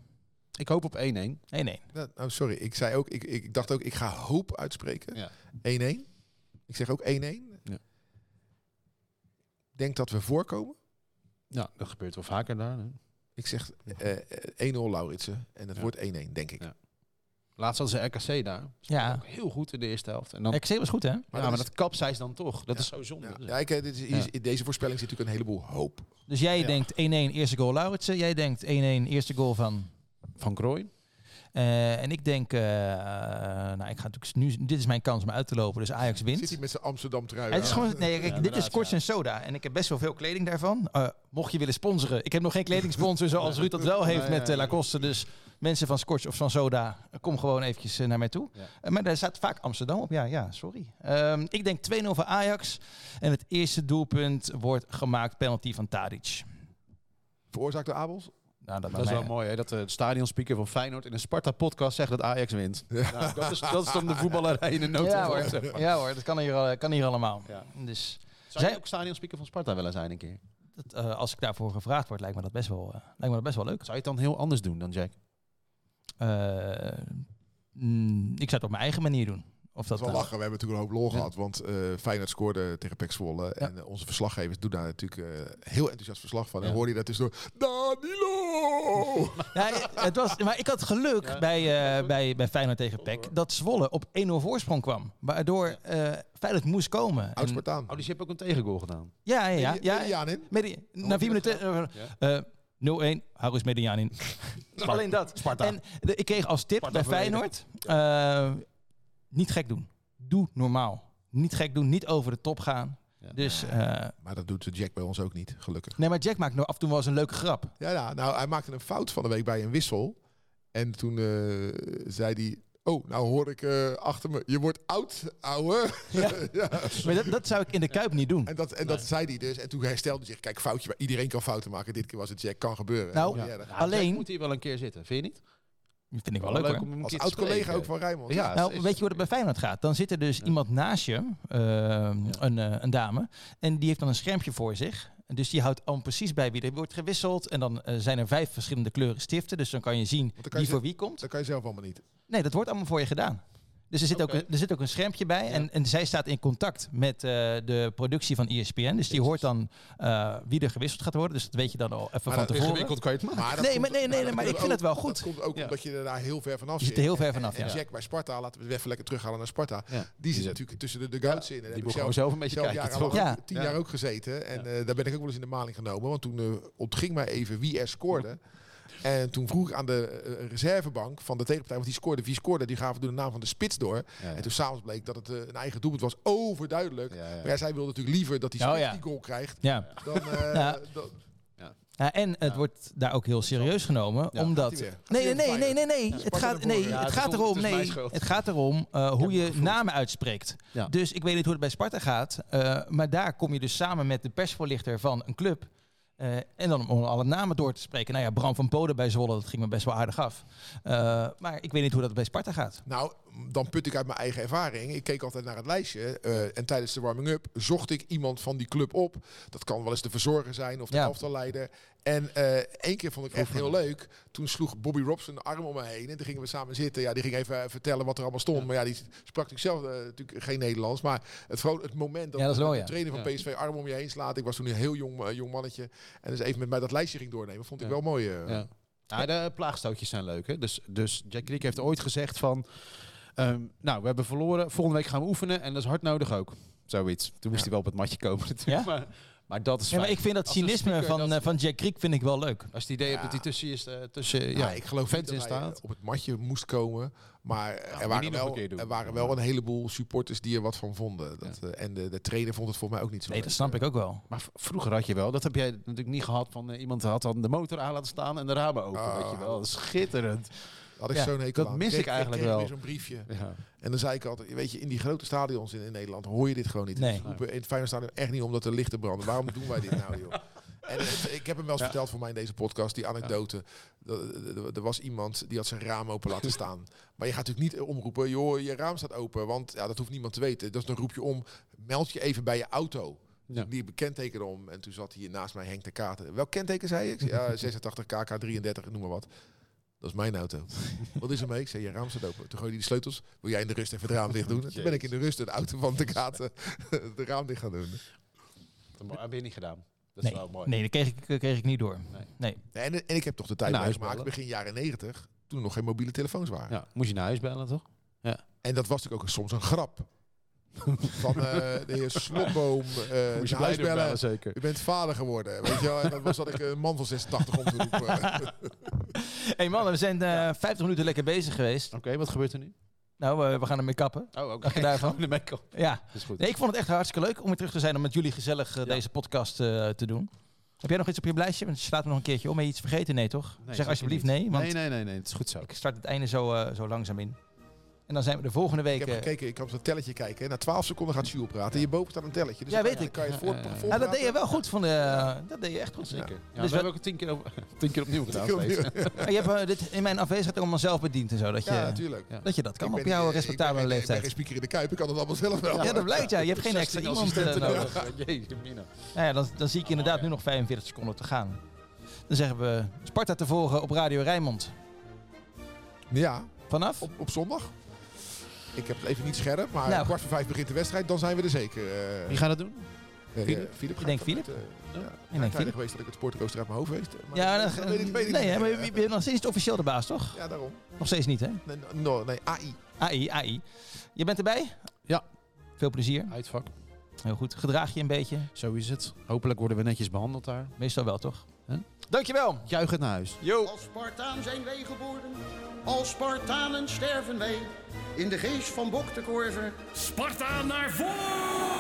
Speaker 3: Ik hoop op 1-1.
Speaker 2: Nee, nee.
Speaker 4: Ja, nou, sorry, ik zei ook, ik, ik, ik dacht ook, ik ga hoop uitspreken.
Speaker 3: Ja.
Speaker 4: 1-1. Ik zeg ook 1-1.
Speaker 3: Ja.
Speaker 4: Denk dat we voorkomen.
Speaker 3: Ja, dat gebeurt wel vaker daar. Hè.
Speaker 4: Ik zeg eh, eh, 1-0 Lauritsen. En het
Speaker 3: Ja.
Speaker 4: wordt 1-1, denk ik.
Speaker 3: Ja. Laatst hadden ze RKC daar.
Speaker 2: Ja.
Speaker 3: Ook heel goed in de eerste helft. En dan,
Speaker 2: XC was goed, hè?
Speaker 3: ja, maar dat kapseis dan toch. Dat
Speaker 4: Ja.
Speaker 3: is zo zonde.
Speaker 4: Ja, ja, ik, eh, dit is, hier is- in deze voorspelling zit natuurlijk een heleboel hoop.
Speaker 2: Dus jij
Speaker 3: Ja.
Speaker 2: denkt 1-1 eerste goal Lauritsen. Jij denkt 1-1 eerste goal van...
Speaker 3: Van Krooi.
Speaker 2: Eh, en ik denk... eh, nou, ik ga natuurlijk nu... Dit is mijn kans om uit te lopen. Dus Ajax
Speaker 4: Zit
Speaker 2: wint.
Speaker 4: hij met zijn Amsterdam trui?
Speaker 2: Het is
Speaker 4: aan?
Speaker 2: gewoon, nee, kijk, dit is
Speaker 3: inderdaad,
Speaker 2: Korts
Speaker 3: ja.
Speaker 2: en Soda. En ik heb best wel veel kleding daarvan. Eh, mocht je willen sponsoren. Ik heb nog geen kledingsponsor zoals Ruud dat wel heeft
Speaker 3: Nee,
Speaker 2: met
Speaker 3: nee,
Speaker 2: eh,
Speaker 3: nee.
Speaker 2: Lacoste. Dus mensen van Scorch of van Soda, eh, kom gewoon eventjes eh, naar mij toe.
Speaker 3: Ja.
Speaker 2: Eh, maar daar staat vaak Amsterdam op. Ja, ja, sorry. Ehm, ik denk 2-0 voor Ajax. En het eerste doelpunt wordt gemaakt penalty van Tadic.
Speaker 4: Veroorzaakt door Abels?
Speaker 2: Nou, dat,
Speaker 3: Dat is wel mooi, hè? Dat eh, de stadionspeaker van Feyenoord in een Sparta-podcast zegt dat Ajax wint. Nou, dat, is, dat is dan de voetballerij in de
Speaker 2: Ja
Speaker 3: notendop. zeg
Speaker 2: hoor.
Speaker 3: maar.
Speaker 2: ja hoor, dat kan hier, al- kan hier allemaal.
Speaker 3: Ja.
Speaker 2: Dus
Speaker 3: Zou
Speaker 2: Zij-
Speaker 3: jij ook stadionspeaker van Sparta willen zijn een keer?
Speaker 2: dat, eh, als ik daarvoor gevraagd word, lijkt me dat best wel, eh, lijkt me dat best wel leuk.
Speaker 3: Zou je het dan heel anders doen dan Jack?
Speaker 2: Eh, mm, ik zou het op mijn eigen manier doen. Of
Speaker 4: Dat
Speaker 2: dat
Speaker 4: is wel
Speaker 2: nou-
Speaker 4: lachen. We hebben natuurlijk een hoop lol gehad. Want eh Feyenoord scoorde tegen Pek Zwolle. En eh, onze verslaggevers doen daar natuurlijk eh, heel enthousiast verslag van. En
Speaker 3: Ja.
Speaker 4: hoorde je dat dus door... Danilo!
Speaker 2: Ja, het was, maar ik had geluk
Speaker 3: Ja.
Speaker 2: bij, eh, bij, bij Feyenoord tegen PEC dat Zwolle op 1-0 voorsprong kwam. Waardoor eh Feyenoord moest komen. En-
Speaker 4: Oud-Spartaan.
Speaker 3: Oh, dus je hebt ook een tegengoal gedaan.
Speaker 2: ja, ja, ja. ja,
Speaker 4: Medi- Mediaan in.
Speaker 2: Medi- na vier minuten... eh, eh, 0-1, Harus Median in. Alleen dat.
Speaker 3: Sparta.
Speaker 2: En de- ik kreeg als tip
Speaker 3: Sparta
Speaker 2: bij
Speaker 3: verleden.
Speaker 2: Feyenoord... eh, niet gek doen. Doe normaal. Niet gek doen, niet over de top gaan.
Speaker 3: Ja.
Speaker 2: Dus, eh,
Speaker 4: Maar dat doet Jack bij ons ook niet, gelukkig.
Speaker 2: nee, maar Jack maakt nog af en toe wel eens een leuke grap.
Speaker 4: Ja, ja, nou, hij maakte een fout van de week bij een wissel. En toen eh, zei hij... Oh, nou hoor ik eh, achter me. Je wordt oud, ouwe.
Speaker 2: Ja.
Speaker 4: Ja.
Speaker 2: Maar dat, dat zou ik in de Kuip niet doen.
Speaker 4: En, dat, en dat zei hij dus. En toen herstelde hij zich. Kijk, foutje. Maar iedereen kan fouten maken. Dit keer was het Jack. Kan gebeuren.
Speaker 2: Nou,
Speaker 4: ja. dan-
Speaker 3: Oh, Ja,
Speaker 2: Alleen-
Speaker 3: Jack moet hier wel een keer zitten, vind je niet?
Speaker 2: Dat vind ik wel leuk hoor.
Speaker 3: om hem een
Speaker 4: Als
Speaker 3: keer te
Speaker 4: oud-collega
Speaker 3: spreken.
Speaker 4: ook van Rijnmond.
Speaker 3: Ja,
Speaker 2: Nou,
Speaker 3: is-
Speaker 2: weet je hoe het bij Feyenoord gaat? Dan zit er dus iemand naast je, eh, een, eh, een dame, en die heeft dan een schermpje voor zich. Dus die houdt al precies bij wie er wordt gewisseld. En dan eh, zijn er vijf verschillende kleuren stiften. Dus dan kan je zien
Speaker 4: dan kan
Speaker 2: wie
Speaker 4: je
Speaker 2: voor wie komt.
Speaker 4: Dat kan je zelf allemaal niet.
Speaker 2: Nee, dat wordt allemaal voor je gedaan. Dus er zit, ook, een- er zit ook een schermpje bij. En, en zij staat in contact met eh, de productie van ESPN. Dus die hoort dan eh, wie er gewisseld gaat worden. Dus dat weet je dan al even van tevoren.
Speaker 3: kan je het maken.
Speaker 4: Maar dat
Speaker 2: Nee,
Speaker 4: komt-
Speaker 2: maar- nee, nee, nee,
Speaker 4: dat
Speaker 2: maar
Speaker 4: komt
Speaker 2: ik vind
Speaker 4: ook-
Speaker 2: het wel goed.
Speaker 4: Dat komt ook
Speaker 3: Ja.
Speaker 4: omdat je er daar heel ver vanaf
Speaker 2: Je
Speaker 4: zit.
Speaker 2: zit er heel ver
Speaker 4: En-
Speaker 2: vanaf,
Speaker 4: En,
Speaker 2: ja.
Speaker 4: Jack bij Sparta, laten we het even lekker terughalen naar Sparta.
Speaker 3: Ja.
Speaker 4: Die zit
Speaker 3: zit-
Speaker 4: natuurlijk tussen de, de goats in. En heb
Speaker 3: Die
Speaker 4: ik
Speaker 3: moet
Speaker 4: zelf-
Speaker 3: gewoon zelf een beetje
Speaker 4: zelf
Speaker 3: kijken.
Speaker 4: jarenlang-
Speaker 3: toch?
Speaker 2: Ja.
Speaker 4: tien
Speaker 3: Ja.
Speaker 4: jaar ook gezeten. En eh, daar ben ik ook wel eens in de maling genomen. Want toen eh, ontging mij even wie er scoorde. En toen vroeg ik aan de eh, reservebank van de tegenpartij, want die scoorde, wie scoorde, die gaven toen de naam van de spits door.
Speaker 3: Ja, ja.
Speaker 4: En toen s'avonds bleek dat het eh, een eigen doelpunt was, overduidelijk.
Speaker 3: Ja, ja.
Speaker 4: Maar ja, zij wilde natuurlijk liever dat die
Speaker 2: Oh,
Speaker 4: spits
Speaker 2: ja.
Speaker 4: die goal krijgt,
Speaker 2: Ja.
Speaker 4: dan, eh,
Speaker 2: Ja.
Speaker 4: dan-
Speaker 2: Ja, en het wordt daar ook heel serieus genomen,
Speaker 3: Ja,
Speaker 2: omdat...
Speaker 4: gaat hij weer.
Speaker 2: Nee, nee, nee,
Speaker 4: Fire.
Speaker 2: nee, nee, nee. Het
Speaker 4: Sparta
Speaker 2: gaat,
Speaker 4: naar voren.
Speaker 2: nee,
Speaker 4: Ja,
Speaker 2: het
Speaker 3: het
Speaker 2: gaat
Speaker 3: is- het
Speaker 2: erom,
Speaker 3: is mijn
Speaker 2: nee,
Speaker 3: schuld.
Speaker 2: het gaat erom eh, hoe je namen uitspreekt.
Speaker 3: Ja.
Speaker 2: Dus ik weet niet hoe het bij Sparta gaat, eh, maar daar kom je dus samen met de persvoorlichter van een club. eh, en dan om alle namen door te spreken. Nou ja, Bram van Polen bij Zwolle, dat ging me best wel aardig af. Eh, maar ik weet niet hoe dat bij Sparta gaat.
Speaker 4: Nou, dan put ik uit mijn eigen ervaring. Ik keek altijd naar het lijstje. eh, en tijdens de warming-up zocht ik iemand van die club op. Dat kan wel eens de verzorger zijn of de
Speaker 2: Ja.
Speaker 4: elftalleider. En eh, één keer vond ik echt heel leuk. Toen sloeg Bobby Robson de arm om me heen. En toen gingen we samen zitten. Ja, die ging even eh, vertellen wat er allemaal stond. Maar ja, die sprak natuurlijk zelf eh, natuurlijk geen Nederlands. Maar het, vro- het moment dat,
Speaker 2: Ja, dat is mooi,
Speaker 4: de
Speaker 2: ja.
Speaker 4: trainer van PSV arm om je heen slaat. Ik was toen een heel jong, eh, jong mannetje. En dus even met mij dat lijstje ging doornemen. Vond ik
Speaker 3: Ja.
Speaker 4: wel mooi. eh.
Speaker 3: Ja. Ja, de plaagstootjes zijn leuk. Hè? Dus, dus Jack Riek heeft ooit gezegd van... ehm, nou, we hebben verloren. Volgende week gaan we oefenen. En dat is hard nodig ook. Zoiets. Toen moest hij wel op het matje komen natuurlijk. Maar, maar dat is
Speaker 2: Ja, maar
Speaker 3: fijn.
Speaker 2: ik vind dat
Speaker 3: Als een
Speaker 2: cynisme
Speaker 3: speaker
Speaker 2: van,
Speaker 3: dat-
Speaker 2: eh, van Jack Kriek vind ik wel leuk.
Speaker 3: Als het idee hebt dat hij tussen je... sta- Tussen, ja,
Speaker 4: Ja, ik geloof
Speaker 3: fans
Speaker 4: niet dat
Speaker 3: in
Speaker 4: hij,
Speaker 3: staat.
Speaker 4: eh, op het matje moest komen. Maar eh, er,
Speaker 3: moet
Speaker 4: waren
Speaker 3: hij nog een
Speaker 4: wel,
Speaker 3: keer doen.
Speaker 4: er waren wel een heleboel supporters die er wat van vonden. Dat, eh, en de, de trainer vond het voor mij ook niet zo
Speaker 2: Nee,
Speaker 4: leuk.
Speaker 2: dat snap ik ook wel.
Speaker 3: Maar v- vroeger had je wel, dat heb jij natuurlijk niet gehad, van eh, iemand had dan de motor aan laten staan en de ramen open,
Speaker 4: Oh.
Speaker 3: weet je wel. Dat is Schitterend.
Speaker 4: Had ik
Speaker 2: Ja,
Speaker 4: zo'n hekel
Speaker 3: dat
Speaker 4: aan.
Speaker 3: mis ik
Speaker 4: kreeg-
Speaker 3: eigenlijk
Speaker 4: kreeg
Speaker 3: wel.
Speaker 4: weer zo'n briefje.
Speaker 3: Ja.
Speaker 4: En dan zei ik altijd, weet je, in die grote stadions in, in Nederland hoor je dit gewoon niet.
Speaker 2: Nee.
Speaker 4: Ze roepen in het Feyenoordstadion echt niet omdat er lichten branden. Waarom doen wij dit nou, joh? En het- ik heb hem wel eens verteld voor mij in deze podcast, die anekdote. Dat- Er was iemand die had zijn raam open laten staan. Maar je gaat natuurlijk niet eh, omroepen, joh, je raam staat open. Want ja, dat hoeft niemand te weten. Dus dan roep je om, meld je even bij je auto.
Speaker 3: Ja.
Speaker 4: Ja. Die bekenteken om. En toen zat hier naast mij Henk de Kater. Welk kenteken zei ik? Ja, 86 KK 33, noem maar wat. Dat is mijn auto. Wat is er mee? Ik zei, je raam staat open. Toen gooi je die sleutels. Wil jij in de rust even het raam dicht doen? Toen ben ik in de rust de auto van de katen de raam dicht gaan doen.
Speaker 3: Dat heb je niet gedaan. Dat
Speaker 2: Nee,
Speaker 3: is wel mooi.
Speaker 2: nee dat kreeg ik, kreeg ik niet door.
Speaker 3: Nee.
Speaker 2: Nee.
Speaker 4: En, en ik heb toch de tijd
Speaker 3: En
Speaker 4: meegemaakt,
Speaker 3: huisbellen.
Speaker 4: begin jaren 90, toen er nog geen mobiele telefoons waren.
Speaker 3: Ja, moest je naar huis bellen, toch?
Speaker 4: En dat was natuurlijk ook soms een grap. van eh, de heer Slotboom, eh
Speaker 3: moest
Speaker 4: naar
Speaker 3: je
Speaker 4: huis
Speaker 3: blijven
Speaker 4: bellen.
Speaker 3: bellen, zeker.
Speaker 4: U bent vader geworden. Weet je wel? En dat was dat ik een man van eh, 86 om te roepen.
Speaker 2: hey mannen, we zijn eh, 50 minuten lekker bezig geweest.
Speaker 3: Oké, wat gebeurt er nu?
Speaker 2: Nou, eh, we gaan ermee kappen.
Speaker 3: Oh, oké.
Speaker 2: Dacht je daarvan?
Speaker 3: De make-up.
Speaker 2: Ja.
Speaker 3: Dat is goed.
Speaker 2: Nee, ik vond het echt hartstikke leuk om weer terug te zijn om met jullie gezellig eh, deze podcast eh, te doen. Heb jij nog iets op je lijstje? Want je slaat me nog een keertje om. Heb je iets vergeten? Nee, toch?
Speaker 3: Nee,
Speaker 2: zeg
Speaker 3: zeker
Speaker 2: alsjeblieft
Speaker 3: niet.
Speaker 2: nee, want
Speaker 3: Nee, nee, nee, nee, het is goed zo.
Speaker 2: ik start het einde zo, eh, zo langzaam in. En dan zijn we de volgende
Speaker 4: Ik
Speaker 2: week...
Speaker 4: heb
Speaker 2: eh,
Speaker 4: gekeken, ik kan op dat telletje kijken. Na 12 seconden gaat Sjoel praten. Hierboven staat een telletje. Dus
Speaker 2: Ja,
Speaker 4: dan
Speaker 2: weet ik.
Speaker 4: kan je het voor,
Speaker 3: Ja, ja, ja.
Speaker 2: ah, dat deed je wel goed. Van de, dat deed je echt goed.
Speaker 3: Zeker. Ja, we
Speaker 2: wel-
Speaker 3: hebben ook tien keer, op, tien keer opnieuw gedaan. steeds.
Speaker 2: Maar je hebt eh, dit in mijn afwezigheid allemaal zelf bediend en zo. Dat je,
Speaker 4: Ja, natuurlijk.
Speaker 3: Ja.
Speaker 2: dat, je dat kan
Speaker 4: Ik
Speaker 2: op
Speaker 4: ben-
Speaker 2: jouw
Speaker 4: ik ben-
Speaker 2: respectabele
Speaker 4: ik ben- Ik ben
Speaker 2: leeftijd.
Speaker 4: geen speaker in de Kuip, ik kan het allemaal zelf wel.
Speaker 2: Ja, dat blijkt ja. Je hebt geen extra
Speaker 3: 16
Speaker 2: iemand eh,
Speaker 3: assistenten
Speaker 2: nodig.
Speaker 3: nodig. Jeetje, mina.
Speaker 2: Nou ja, dan, dan zie ik inderdaad nu nog 45 seconden te gaan. Dan zeggen we Sparta te volgen op Radio Rijnmond.
Speaker 4: Ja,
Speaker 2: Vanaf?
Speaker 4: op, op zondag. Ik heb het even niet scherp, maar
Speaker 2: Nou.
Speaker 4: kwart voor vijf begint de wedstrijd. Dan zijn we er zeker. eh.
Speaker 3: Wie gaat dat doen?
Speaker 4: Eh,
Speaker 3: Philip?
Speaker 4: Philip
Speaker 2: Ik denk
Speaker 4: gaat vanuit,
Speaker 2: Philip.
Speaker 4: eh, ja,
Speaker 2: denk
Speaker 4: ik ben
Speaker 2: Philip.
Speaker 4: geweest dat ik het sportrooster uit mijn hoofd weet. maar
Speaker 2: Ja,
Speaker 4: dat,
Speaker 2: dan-
Speaker 4: dat weet ik, weet ik
Speaker 2: nee,
Speaker 4: niet.
Speaker 2: hè, maar je je bent nog steeds niet officieel de baas, toch?
Speaker 4: Ja, daarom.
Speaker 2: Nog steeds niet, hè?
Speaker 4: Nee, no, nee, AI.
Speaker 2: AI, AI. Je bent erbij?
Speaker 3: Ja.
Speaker 2: Veel plezier.
Speaker 3: Uitvak.
Speaker 2: Heel goed. Gedraag je een beetje.
Speaker 3: Zo is het. Hopelijk worden we netjes behandeld daar.
Speaker 2: Meestal wel, toch?
Speaker 3: Huh?
Speaker 2: Dankjewel.
Speaker 3: Juich het naar huis.
Speaker 10: Als Spartaan zijn wij geboren, als Spartanen sterven wij. In de geest van Bok de Korver
Speaker 1: Sparta naar voren!